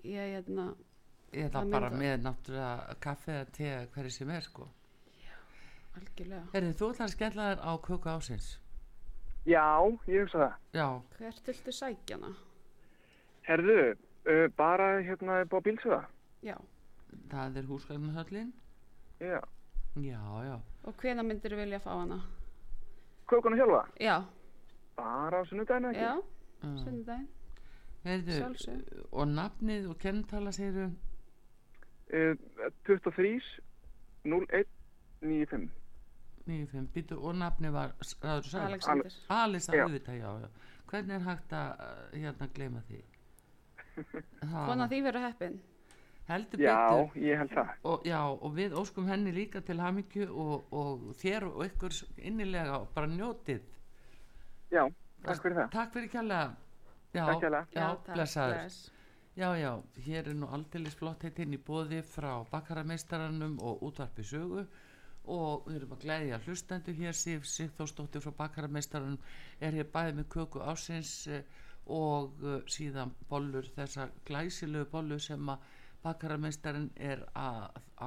[SPEAKER 2] ég hérna
[SPEAKER 1] Eða
[SPEAKER 2] Það
[SPEAKER 1] bara
[SPEAKER 2] myndi-
[SPEAKER 1] með náttúrulega kaffe eða te eða hverju sem er sko.
[SPEAKER 2] algjörlega
[SPEAKER 1] Herri, þú ætlar að skella þér á köku ásins.
[SPEAKER 9] Já, ég hugsa það.
[SPEAKER 1] Já,
[SPEAKER 2] Hvert viltu sækja hana?
[SPEAKER 9] Herðu, uh, bara hérna búið að bílsuða.
[SPEAKER 2] Já,
[SPEAKER 1] það er húsgagnahöllin.
[SPEAKER 9] Já,
[SPEAKER 1] Já, já.
[SPEAKER 2] og hvena myndir vilja fá hana?
[SPEAKER 9] kökuna sjálfa.
[SPEAKER 2] Já,
[SPEAKER 9] Bara á sunnudaginu ekki.
[SPEAKER 2] já,
[SPEAKER 1] Mm.
[SPEAKER 2] sunnudaginn,
[SPEAKER 1] Heyrðu,
[SPEAKER 2] sjálfsög
[SPEAKER 1] og nafnið og kennetala segiru
[SPEAKER 9] Uh, 23 01 95.
[SPEAKER 1] 95, býtu og nafnið var ráður sæl,
[SPEAKER 2] Alexander
[SPEAKER 1] Alisa
[SPEAKER 9] Já.
[SPEAKER 1] auðvitað já, já, hvernig er hægt að uh, hérna gleyma því ha,
[SPEAKER 2] Kona því verður heppin
[SPEAKER 1] heldur
[SPEAKER 9] Já,
[SPEAKER 1] betur
[SPEAKER 9] ég held það.
[SPEAKER 1] og, já, og við óskum henni líka til hamingju og, og þér og ykkur s- innilega og bara njótið
[SPEAKER 9] Já, takk fyrir það.
[SPEAKER 1] takk fyrir kjallega já,
[SPEAKER 9] Takk kærlega.
[SPEAKER 1] já,
[SPEAKER 2] takk,
[SPEAKER 1] blessaður
[SPEAKER 2] bless.
[SPEAKER 1] Já, já, hér er nú aldeilis flott heitinn í bóði frá bakkarameistaranum og útvarpi sögu og við erum að gleðja hlustendu hér Sif Sigþórsdóttir frá bakkarameistaranum er hér bæðið með köku ásins eh, og eh, síðan bollur þessa glæsilegu bollur sem að bakkarameistarin er að,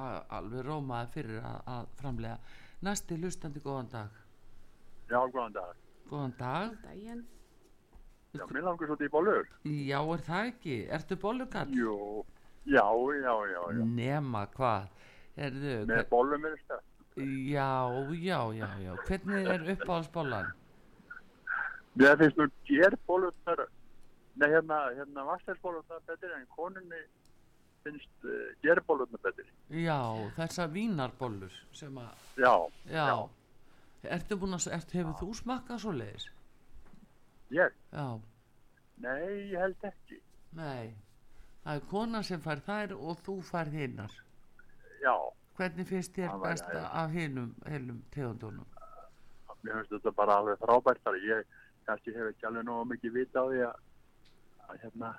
[SPEAKER 1] að alveg rómaði fyrir að, að framlega. Næsti hlustandi, góðan dag.
[SPEAKER 10] Já, góðan dag.
[SPEAKER 1] Góðan dag.
[SPEAKER 2] Daginn.
[SPEAKER 10] Já, mér langar svolítið í bollur.
[SPEAKER 1] Já, er það ekki? Ertu bollugall?
[SPEAKER 10] Jú, já, já, já,
[SPEAKER 9] Mm.
[SPEAKER 10] já.
[SPEAKER 1] Nema hvað? Erðu,
[SPEAKER 10] Með bollum er þetta.
[SPEAKER 1] Já, já, já, já. Hvernig er uppáhaldsbollan?
[SPEAKER 10] Mér finnst nú gerbollunar, nei, hérna, hérna, vastelbollunar betri en konunni finnst uh, gerbollunar betri.
[SPEAKER 1] Já, þessar vínarbollur sem að,
[SPEAKER 10] Já,
[SPEAKER 1] já. Ertu búin að, ertu, hefur þú smakkað svo leiðis?
[SPEAKER 10] ég,
[SPEAKER 1] Já,
[SPEAKER 10] nei, ég held ekki.
[SPEAKER 1] nei. Það er kona sem fær þær og þú fær hinnar.
[SPEAKER 10] Já,
[SPEAKER 1] Hvernig finnst þér
[SPEAKER 10] Það væri
[SPEAKER 1] best
[SPEAKER 10] æði.
[SPEAKER 1] af hinum, hinum
[SPEAKER 10] *laughs*
[SPEAKER 1] tegundunum?
[SPEAKER 10] mér finnst þetta bara alveg frábært þar. Ég kannski hef ekki alveg nógu mikið vita á því að, að hérna,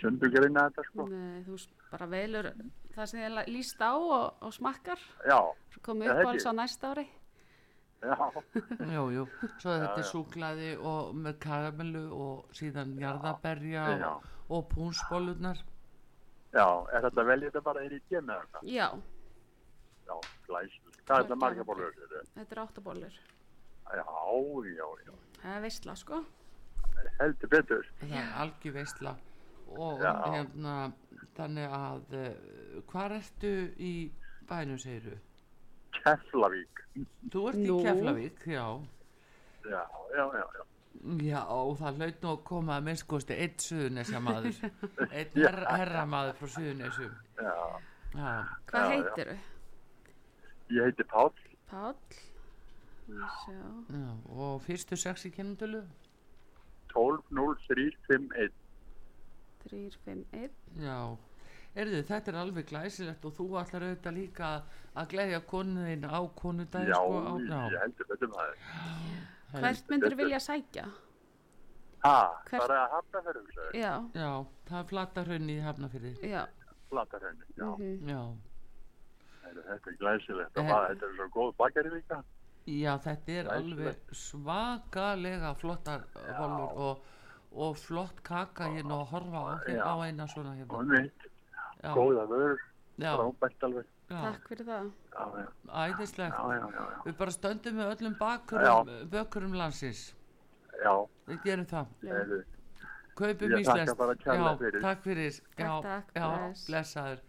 [SPEAKER 10] sundugreina þetta, sko.
[SPEAKER 2] Nei, þú s- bara velur það sem þið líst á og, og smakkar
[SPEAKER 10] Já,
[SPEAKER 2] komið
[SPEAKER 10] Já,
[SPEAKER 2] upp á
[SPEAKER 10] ekki.
[SPEAKER 2] alls á næsta ári
[SPEAKER 10] já,
[SPEAKER 1] Jú, jú. Svo þetta er
[SPEAKER 10] já.
[SPEAKER 1] súklaði og með karamellu og síðan jarðaberja
[SPEAKER 10] já.
[SPEAKER 1] og, og púnsbollunar.
[SPEAKER 10] Já, er þetta vel þetta bara er í tíma eða hvað?
[SPEAKER 2] Já,
[SPEAKER 10] Já, glæsilegt. Hvað er þetta
[SPEAKER 2] Mörg
[SPEAKER 10] marga
[SPEAKER 2] gervibólur.
[SPEAKER 10] bólur? Já,
[SPEAKER 2] þetta er áttabólur
[SPEAKER 10] já, já.
[SPEAKER 2] Það er veistla sko
[SPEAKER 10] Heldur betur.
[SPEAKER 1] það er algjör veistla og
[SPEAKER 10] Já.
[SPEAKER 1] hérna þannig að uh, hvað ertu í bænum segiru?
[SPEAKER 10] Keflavík.
[SPEAKER 1] Þú ert
[SPEAKER 2] Nú.
[SPEAKER 1] í Keflavík, já
[SPEAKER 10] Já, já, já, já.
[SPEAKER 1] Já, og það hlaut nú að koma að minnskosti einn suðunesja maður
[SPEAKER 10] *laughs*
[SPEAKER 1] einn her herra maður frá suðunesjum
[SPEAKER 10] já.
[SPEAKER 1] Já,
[SPEAKER 2] Hvað
[SPEAKER 10] Já, já.
[SPEAKER 2] heitirðu?
[SPEAKER 10] Ég heiti Páll.
[SPEAKER 2] Páll Ég sjá.
[SPEAKER 1] já, og fyrstu sex í kennendölu
[SPEAKER 10] 120351.
[SPEAKER 2] 3, 5, 1
[SPEAKER 1] Já, erðu þetta er alveg glæsilegt og þú ætlar auðvitað líka að gleðja konuðin á konudagin
[SPEAKER 10] Já,
[SPEAKER 1] sko, á,
[SPEAKER 10] ég heldur betur maður.
[SPEAKER 1] Hel-
[SPEAKER 2] Hvert myndir vilja sækja?
[SPEAKER 10] Ha,
[SPEAKER 1] Hvert-
[SPEAKER 10] bara að hafna fyrir hugsaður.
[SPEAKER 2] Já.
[SPEAKER 1] Já, það er flatarhraun í Hafnafyrði.
[SPEAKER 2] Já.
[SPEAKER 10] Flatarhenni, já.
[SPEAKER 1] Já.
[SPEAKER 10] Heyrðu, Þetta er glæsilegt.
[SPEAKER 1] Mhm. Eh.
[SPEAKER 10] Eh. Þetta er svo góð bakari líka.
[SPEAKER 1] Já, þetta er
[SPEAKER 10] Glæsilegt.
[SPEAKER 1] alveg svakalega flottar volur og, og flott kaka hérna og horfa á,
[SPEAKER 10] Já.
[SPEAKER 1] á eina svona hérna.
[SPEAKER 10] Og mitt,
[SPEAKER 1] Já.
[SPEAKER 10] góða vörur,
[SPEAKER 1] Já.
[SPEAKER 10] frábært alveg.
[SPEAKER 1] Já.
[SPEAKER 2] Takk fyrir það.
[SPEAKER 10] Já, já.
[SPEAKER 1] Æðislegt.
[SPEAKER 10] Já, já, já, já.
[SPEAKER 1] Við bara stöndum með öllum bakurum, bökurum landsins.
[SPEAKER 10] Já.
[SPEAKER 1] Við gerum það.
[SPEAKER 10] Já. Heyrðu, ég
[SPEAKER 1] Kaupum
[SPEAKER 10] þakka
[SPEAKER 1] íslenskt.
[SPEAKER 10] bara kærlega
[SPEAKER 1] Já,
[SPEAKER 10] fyrir.
[SPEAKER 1] Takk fyrir. Já,
[SPEAKER 2] Takk, takk,
[SPEAKER 1] já,
[SPEAKER 2] bless.
[SPEAKER 1] blessaður.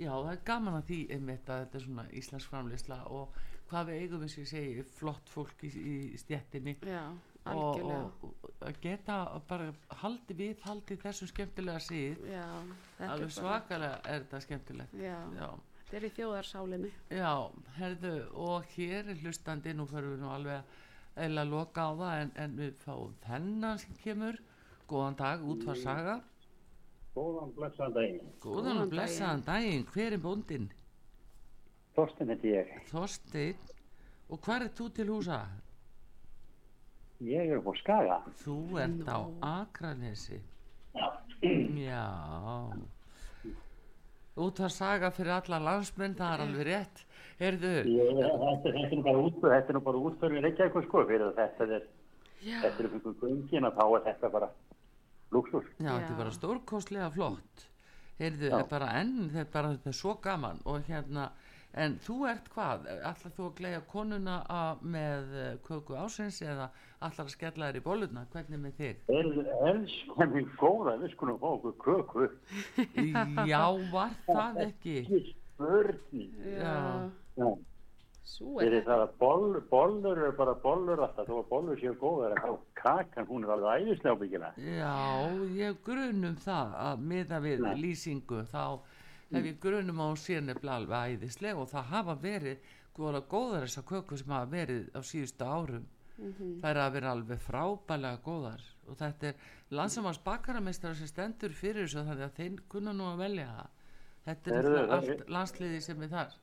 [SPEAKER 1] Já, það er gaman að því einmitt að þetta er svona íslensk framleysla og hvað við eigum eins og ég segi flott fólk í, í stjettinni
[SPEAKER 2] Já,
[SPEAKER 1] og,
[SPEAKER 2] algjörlega.
[SPEAKER 1] og, og að geta bara haldi við haldi þessum skemmtilega síð
[SPEAKER 2] Já, þetta er
[SPEAKER 1] alveg
[SPEAKER 2] bara-
[SPEAKER 1] svakalega er þetta skemmtilegt
[SPEAKER 2] Já.
[SPEAKER 1] já,
[SPEAKER 2] Þetta er í þjóðarsálinni.
[SPEAKER 1] já herðu og hér er hlustandi nú förum við nú alveg eða loka á það en, en við fáum þennan sem kemur góðan dag, útfarsaga
[SPEAKER 11] Góðan blessaðan daginn.
[SPEAKER 1] góðan og blessaðan daginn, hver er bóndin?
[SPEAKER 11] Þorsten heiti ég.
[SPEAKER 1] Þorsteinn og hvað er þú til húsa?
[SPEAKER 11] Ég er upp á Skaga.
[SPEAKER 1] Þú ert á Akranesi Já Út var saga fyrir alla landsmenn það er alveg rétt Heyrðu
[SPEAKER 11] Ég, þetta, þetta er nú bara útför, þetta er nú bara útför við Reykjavíkur sko fyrir það. þetta er,
[SPEAKER 1] Já.
[SPEAKER 11] þetta er um einhver göngin að þá er þetta bara luxus.
[SPEAKER 1] Já, þetta er bara stórkostlega flott Heyrðu, er bara enn þetta er bara þetta er svo gaman og hérna En þú ert hvað? Ætlar þú að gleyja konuna að, með eh, köku ásins eða ætlar að skella þér í bólutna? Hvernig er með *laughs* þig?
[SPEAKER 11] El, elskan minn góða, við skulum fá okkur köku.
[SPEAKER 1] Já, var það ekki?
[SPEAKER 11] Spörning.
[SPEAKER 1] Já.
[SPEAKER 11] Já.
[SPEAKER 2] Sú
[SPEAKER 11] Fyrir það að boll, bollur eru bara bollur alltaf, þó að bollur séu góðar að þá kakan, hún er alveg æðislega byggilega.
[SPEAKER 1] Já, ég hef grunum það að miða við
[SPEAKER 11] Nei. Mm.
[SPEAKER 1] lýsingu þá hef ég grunum á sérnefnilega alveg æðisleg og það hafa verið góða góðar þessar kökur sem hafa verið á síðustu árum.
[SPEAKER 12] Mhm.
[SPEAKER 1] Það er að vera alveg frábælega góðar og þetta er landsamans bakarameistrar sem stendur fyrir þessu þannig að þeim kunna nú að velja það. Þetta er
[SPEAKER 11] Heyrðu,
[SPEAKER 1] náttúrulega
[SPEAKER 11] það-
[SPEAKER 1] allt landsliði sem er þar.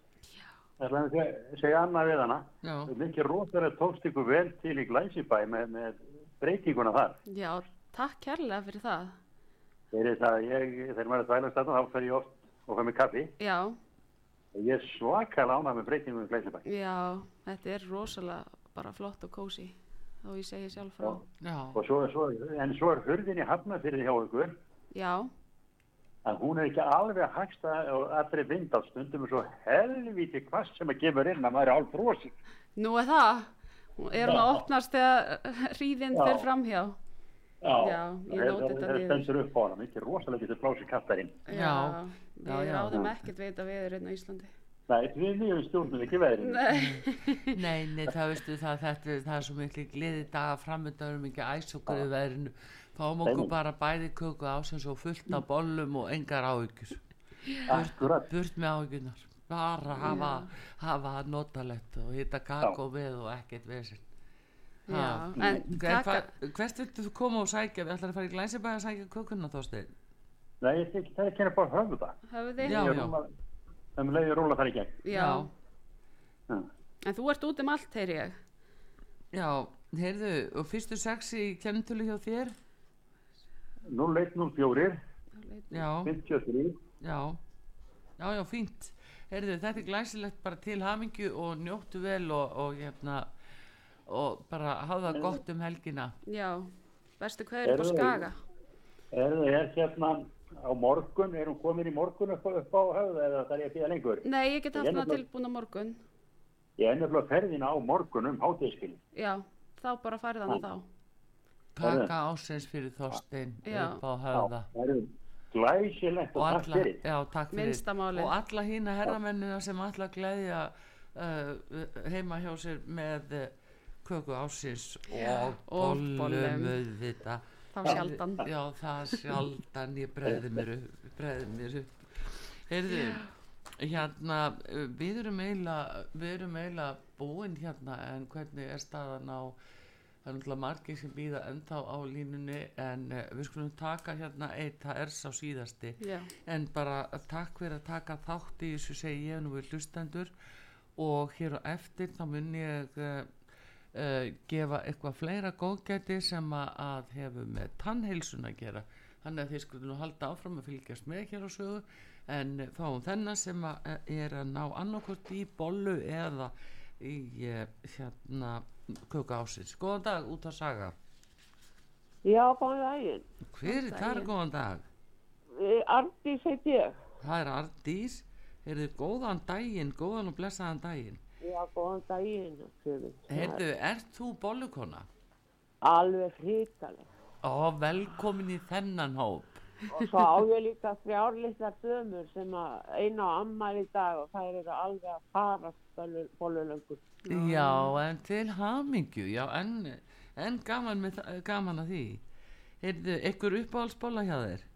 [SPEAKER 11] Það er að segja- segja annað við hana.
[SPEAKER 1] Já.
[SPEAKER 11] Mikið rótverð tókst ykkur vel til í Glæsibæ með, með breytinguna þar.
[SPEAKER 2] Já, takk kærlega fyrir það.
[SPEAKER 11] Þegar það, ég, þegar maður er að þvælast þarna þá fer ég oft og fer mér kaffi.
[SPEAKER 2] Já,
[SPEAKER 11] Ég er svakalega ánað með breytingum í
[SPEAKER 2] Ah.
[SPEAKER 11] Glæsibæ.
[SPEAKER 2] já, þetta er rosalega bara flott og kósi. Þó ég segi sjálf frá.
[SPEAKER 1] Já.
[SPEAKER 11] Og svo, svo, en svo er hurðin í Hafnarfyrði hjá ykkur
[SPEAKER 2] Já,
[SPEAKER 11] að hún er ekki alveg hagsta og allri vind á stundum er svo helvíti hvast sem að kemur inn að maður er hálf brosi.
[SPEAKER 2] nú er það. Hún- Er hún að opnast þegar ríðin
[SPEAKER 11] Já.
[SPEAKER 2] fer framhjá? ég nóti þetta
[SPEAKER 11] Það
[SPEAKER 2] niður.
[SPEAKER 11] stendur upp á hana, mikið rosalega getur blási kattarinn.
[SPEAKER 1] Já,
[SPEAKER 2] við
[SPEAKER 11] já, já.
[SPEAKER 2] ráðum ekkert við þetta viður hérna á Íslandi.
[SPEAKER 11] Nei, við nýjum stjórnum ekki veðrinu.
[SPEAKER 1] Nei, nei, það veistu það, þetta, það er svo miklu gleði daga framöndanum, ekki æs okkur í veðrinu. Fáum okkur
[SPEAKER 11] Einmitt.
[SPEAKER 1] bara bæði köku ásins og fullt af bollum og engar áhyggjur.
[SPEAKER 11] Akkurat.
[SPEAKER 1] Burt, burt með áhyggjurnar. Bara hafa, hafa það notalegt og hitta kakó með og ekkert vesinn.
[SPEAKER 2] Já,
[SPEAKER 1] Ha,
[SPEAKER 2] en
[SPEAKER 1] hver-
[SPEAKER 2] kaka-
[SPEAKER 1] hva- Hvert viltu þú koma og sækja? Við ætlar að fara í glænsibæði að sækja kökunna þóstið.
[SPEAKER 11] Nei, ég þykir það er ekki bara höfða.
[SPEAKER 2] Höfði?
[SPEAKER 1] Já, já.
[SPEAKER 11] Um leiði rúla þar í gegn. Hm.
[SPEAKER 2] Já.
[SPEAKER 11] Já.
[SPEAKER 2] En þú ert út um allt, heyri ég.
[SPEAKER 1] Já, heyrðu, og fyrstu sex í kennitölu hjá þér?
[SPEAKER 11] 0104
[SPEAKER 1] Já.
[SPEAKER 11] 53
[SPEAKER 1] Já, já, já, fínt. Heyrðu, þetta er glæsilegt bara til hamingju og njóttu vel og, og, hérna, og bara hafa það gott um helgina.
[SPEAKER 2] Já, bestu hverju upp á
[SPEAKER 11] Heyrðu,
[SPEAKER 2] Skaga.
[SPEAKER 11] Er það er hérna á morgun, er hún komin í morgun upp, á- upp á höfða eða þarf ég að býða lengur?
[SPEAKER 2] Nei, ég hérna. get haft
[SPEAKER 11] Ég er
[SPEAKER 2] hana
[SPEAKER 11] nefnilega-
[SPEAKER 2] tilbúin á morgun.
[SPEAKER 11] Ég er nefnilega ferðina á morgun um hátíðskil.
[SPEAKER 2] Já, þá bara farið hana þá.
[SPEAKER 1] Kaka ásins fyrir Þorstein
[SPEAKER 2] Já.
[SPEAKER 1] upp á höfða.
[SPEAKER 11] Glæsilegt
[SPEAKER 1] Og
[SPEAKER 11] og takk
[SPEAKER 1] alla,
[SPEAKER 11] fyrir.
[SPEAKER 1] já, takk fyrir.
[SPEAKER 2] Minnsta málið.
[SPEAKER 1] Og alla hína herramennina sem alla gleðja uh, heima hjá sér með uh, köku ásins
[SPEAKER 2] Já,
[SPEAKER 1] og
[SPEAKER 2] og
[SPEAKER 1] bollum
[SPEAKER 2] bollum.
[SPEAKER 1] auðvita.
[SPEAKER 2] Þá sjaldan.
[SPEAKER 1] Já, það sjaldan, ég bregði mér upp, bregði mér upp. Heyrðu, hérna, uh, við erum eiginlega, við erum eiginlega búin hérna en hvernig er staðan á, það er náttúrulega margir sem býða ennþá á línunni en uh, við skulum taka hérna eitt, það er sá síðasti.
[SPEAKER 2] Já.
[SPEAKER 1] En bara takk fyrir að taka þátt í þessu segi ég nú við hlustendur og hér á eftir þá mun ég uh, uh, gefa eitthvað fleira góðgæti sem að, að hefur með tannheilsun að gera þannig að þið skulum nú halda áfram að fylgjast með hér á sögu en fáum þennan sem að, eh, er að ná annarkort í bollu eða í eh, hérna köku ásins. Góðan dag, út að saga.
[SPEAKER 12] Já, góðan daginn.
[SPEAKER 1] Hver er þar góðan dag?
[SPEAKER 12] Eh, Arndís heit ég.
[SPEAKER 1] Það er Ardís. Heyrðu, góðan daginn, góðan og blessaðan daginn.
[SPEAKER 12] Já, góðan daginn. Sjöfum.
[SPEAKER 1] Heyrðu, ert þú bollukona?
[SPEAKER 12] Alveg frítaleg.
[SPEAKER 1] Ó, velkomin í þennan hóp.
[SPEAKER 12] Og svo á ég líka þrjárlittar dömur sem að eina á ammæli í dag og þær eru alveg að fara bólulöngur.
[SPEAKER 1] Já, en til hamingju, já, en, en gaman, með, þa- gaman að því. Heyrðu, ykkur uppáhaldsbolla hjá þér?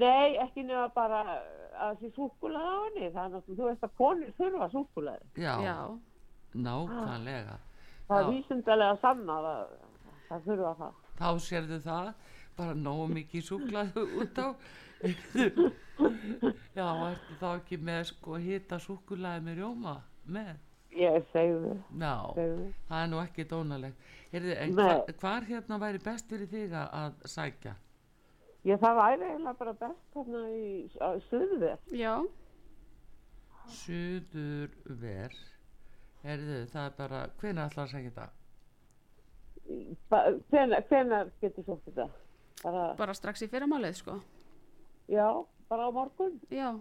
[SPEAKER 12] Nei, ekki nefna bara uh, að því súkkulaði á henni. Það er náttúrulega, þú veist að konur þurfa súkkulaði.
[SPEAKER 1] Já. Nákvæmlega.
[SPEAKER 12] Það
[SPEAKER 1] Já.
[SPEAKER 12] er vísindalega sannað að það þurfa það.
[SPEAKER 1] Þá sérðu það, bara nógu mikið súklaðu *laughs* út á. já, ertu þá ekki með sko hita súkulaði með rjóma með?
[SPEAKER 12] Ég segðu.
[SPEAKER 1] Já, það er nú ekki dónalegt. Heyrðu, en
[SPEAKER 12] Nei.
[SPEAKER 1] hva, hvar hérna væri best fyrir þig að- að sækja?
[SPEAKER 12] Ég það væri eiginlega bara best hérna í á suðverð.
[SPEAKER 2] Já.
[SPEAKER 1] Suðurver. Heyrðu, það er bara, hvenær ætlar að sækja þetta?
[SPEAKER 12] Hvenar, hvenar getur sótt þetta? Bara,
[SPEAKER 2] Bara strax í fyrramálið, sko.
[SPEAKER 12] já, bara á morgun.
[SPEAKER 2] Já.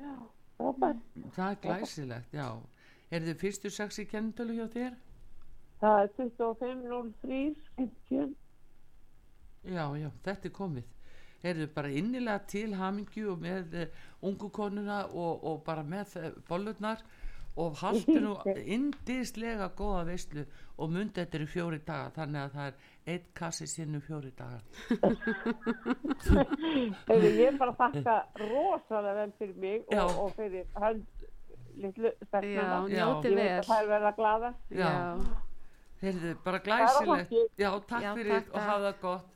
[SPEAKER 12] Já, frábær.
[SPEAKER 1] Það er glæsilegt, já. Heyrðu, fyrstu sex í kennitölu hjá þér?
[SPEAKER 12] Það er 25.03, 50.
[SPEAKER 1] Já, já, þetta er komið. Heyrðu bara innilega til hamingju og með uh, ungu konuna og, og bara með uh, bollurnar og
[SPEAKER 12] *laughs*
[SPEAKER 1] haldu nú indislega góða veislu og mundi þetta eru fjóri daga þannig að það er eitt kassi sinnum fjóri daga.
[SPEAKER 12] Hefur ég bara þakka rosalega vel fyrir mig
[SPEAKER 1] Já.
[SPEAKER 12] og, og fyrir hönd litlu stelpnanna.
[SPEAKER 1] Já, njótið
[SPEAKER 12] Ég veit
[SPEAKER 1] vel.
[SPEAKER 12] að þær verða glaða.
[SPEAKER 1] Já. Heyrðu bara
[SPEAKER 12] Það var
[SPEAKER 1] glæsilegt.
[SPEAKER 12] fólkið.
[SPEAKER 1] Já, takk
[SPEAKER 12] Já,
[SPEAKER 1] fyrir
[SPEAKER 12] takk,
[SPEAKER 1] og
[SPEAKER 12] takk.
[SPEAKER 1] hafa það gott.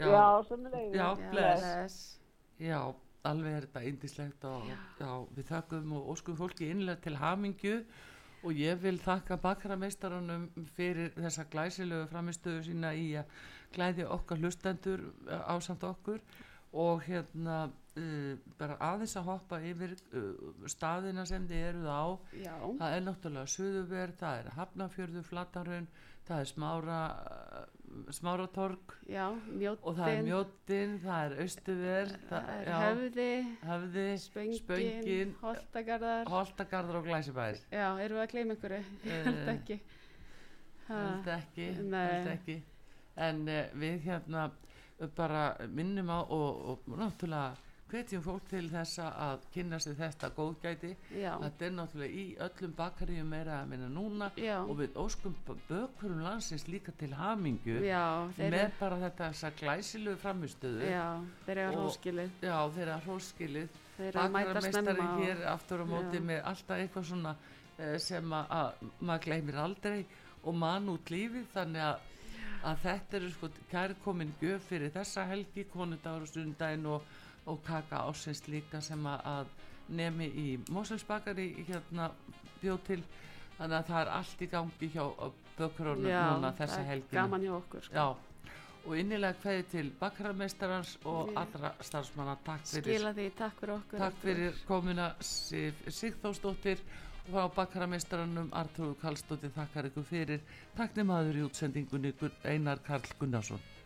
[SPEAKER 12] Já, sömuleiðis.
[SPEAKER 1] Já,
[SPEAKER 12] Já,
[SPEAKER 1] bless.
[SPEAKER 12] bless.
[SPEAKER 1] Já, alveg er þetta indislegt og já. við þakkum og óskum fólki innlega til hamingju og ég vil þakka bakrameistaranum fyrir þessa glæsilegu framistöðu sína í að glæði okkar hlustendur eh, ásamt okkur og hérna uh, bara aðeins að hoppa yfir uh, staðina sem þið eruð á
[SPEAKER 2] Já.
[SPEAKER 1] það er náttúrulega Suðuverð, það er Hafnafjörðu, Flatarun það er Smára uh, Smáratorg
[SPEAKER 2] Já, mjóttin.
[SPEAKER 1] og það er mjóttin, það er austuver
[SPEAKER 2] Það er höfði,
[SPEAKER 1] höfði
[SPEAKER 2] spöngin,
[SPEAKER 1] spöngin
[SPEAKER 2] holtagarðar.
[SPEAKER 1] holtagarður og glæsibær
[SPEAKER 2] Já, erum við að gleyma einhverju? Ég *laughs* held
[SPEAKER 1] Eh,
[SPEAKER 2] ekki. Ha,
[SPEAKER 1] held ekki,
[SPEAKER 2] Nei.
[SPEAKER 1] held ekki. en uh, við hérna eh, bara minnum á og, og náttúrulega hvetjum fólk til þessa að kynna sér þetta góðgæti
[SPEAKER 2] Já.
[SPEAKER 1] þetta er náttúrulega í öllum bakaríum meira að minna núna
[SPEAKER 2] Já.
[SPEAKER 1] og við óskum b- bökurum landsins líka til hamingu
[SPEAKER 2] Já, þeir
[SPEAKER 1] með
[SPEAKER 2] eru-
[SPEAKER 1] bara þetta þessa glæsilegu framistöðu
[SPEAKER 2] Já, þeir eru
[SPEAKER 1] Og-
[SPEAKER 2] hróskilið.
[SPEAKER 1] já þeir eru hróskilið
[SPEAKER 2] Þeir eru að mæta
[SPEAKER 1] Bakarameistari
[SPEAKER 2] snemma og-
[SPEAKER 1] hér aftur á móti
[SPEAKER 2] Já.
[SPEAKER 1] með alltaf eitthvað svona eh, sem að, að maður gleymir aldrei og mann út lífið þannig að, að þetta eru sko kærkomin gjöf fyrir þessa helgi konudagur og stundaginn og, og kaka ásins líka sem að, að nemi í Moselsbakari hérna bjóð til þannig að það er allt í gangi hjá bökurunum
[SPEAKER 2] Já,
[SPEAKER 1] núna
[SPEAKER 2] það
[SPEAKER 1] þessa
[SPEAKER 2] er
[SPEAKER 1] helgi
[SPEAKER 2] gaman hjá okkur, sko.
[SPEAKER 1] Já, og innilega kveði til bakarameistarans og
[SPEAKER 2] Já.
[SPEAKER 1] allra starfsmanna takk fyrir
[SPEAKER 2] Skila því, takk fyrir okkur.
[SPEAKER 1] Takk fyrir komuna Sif Sigþórsdóttir og frá bakkarameistarannum Artur Karlsdóttir þakkar ykkur fyrir. Takk nemaður í útsendingunni Gun- Einar Karl Gunnarsson.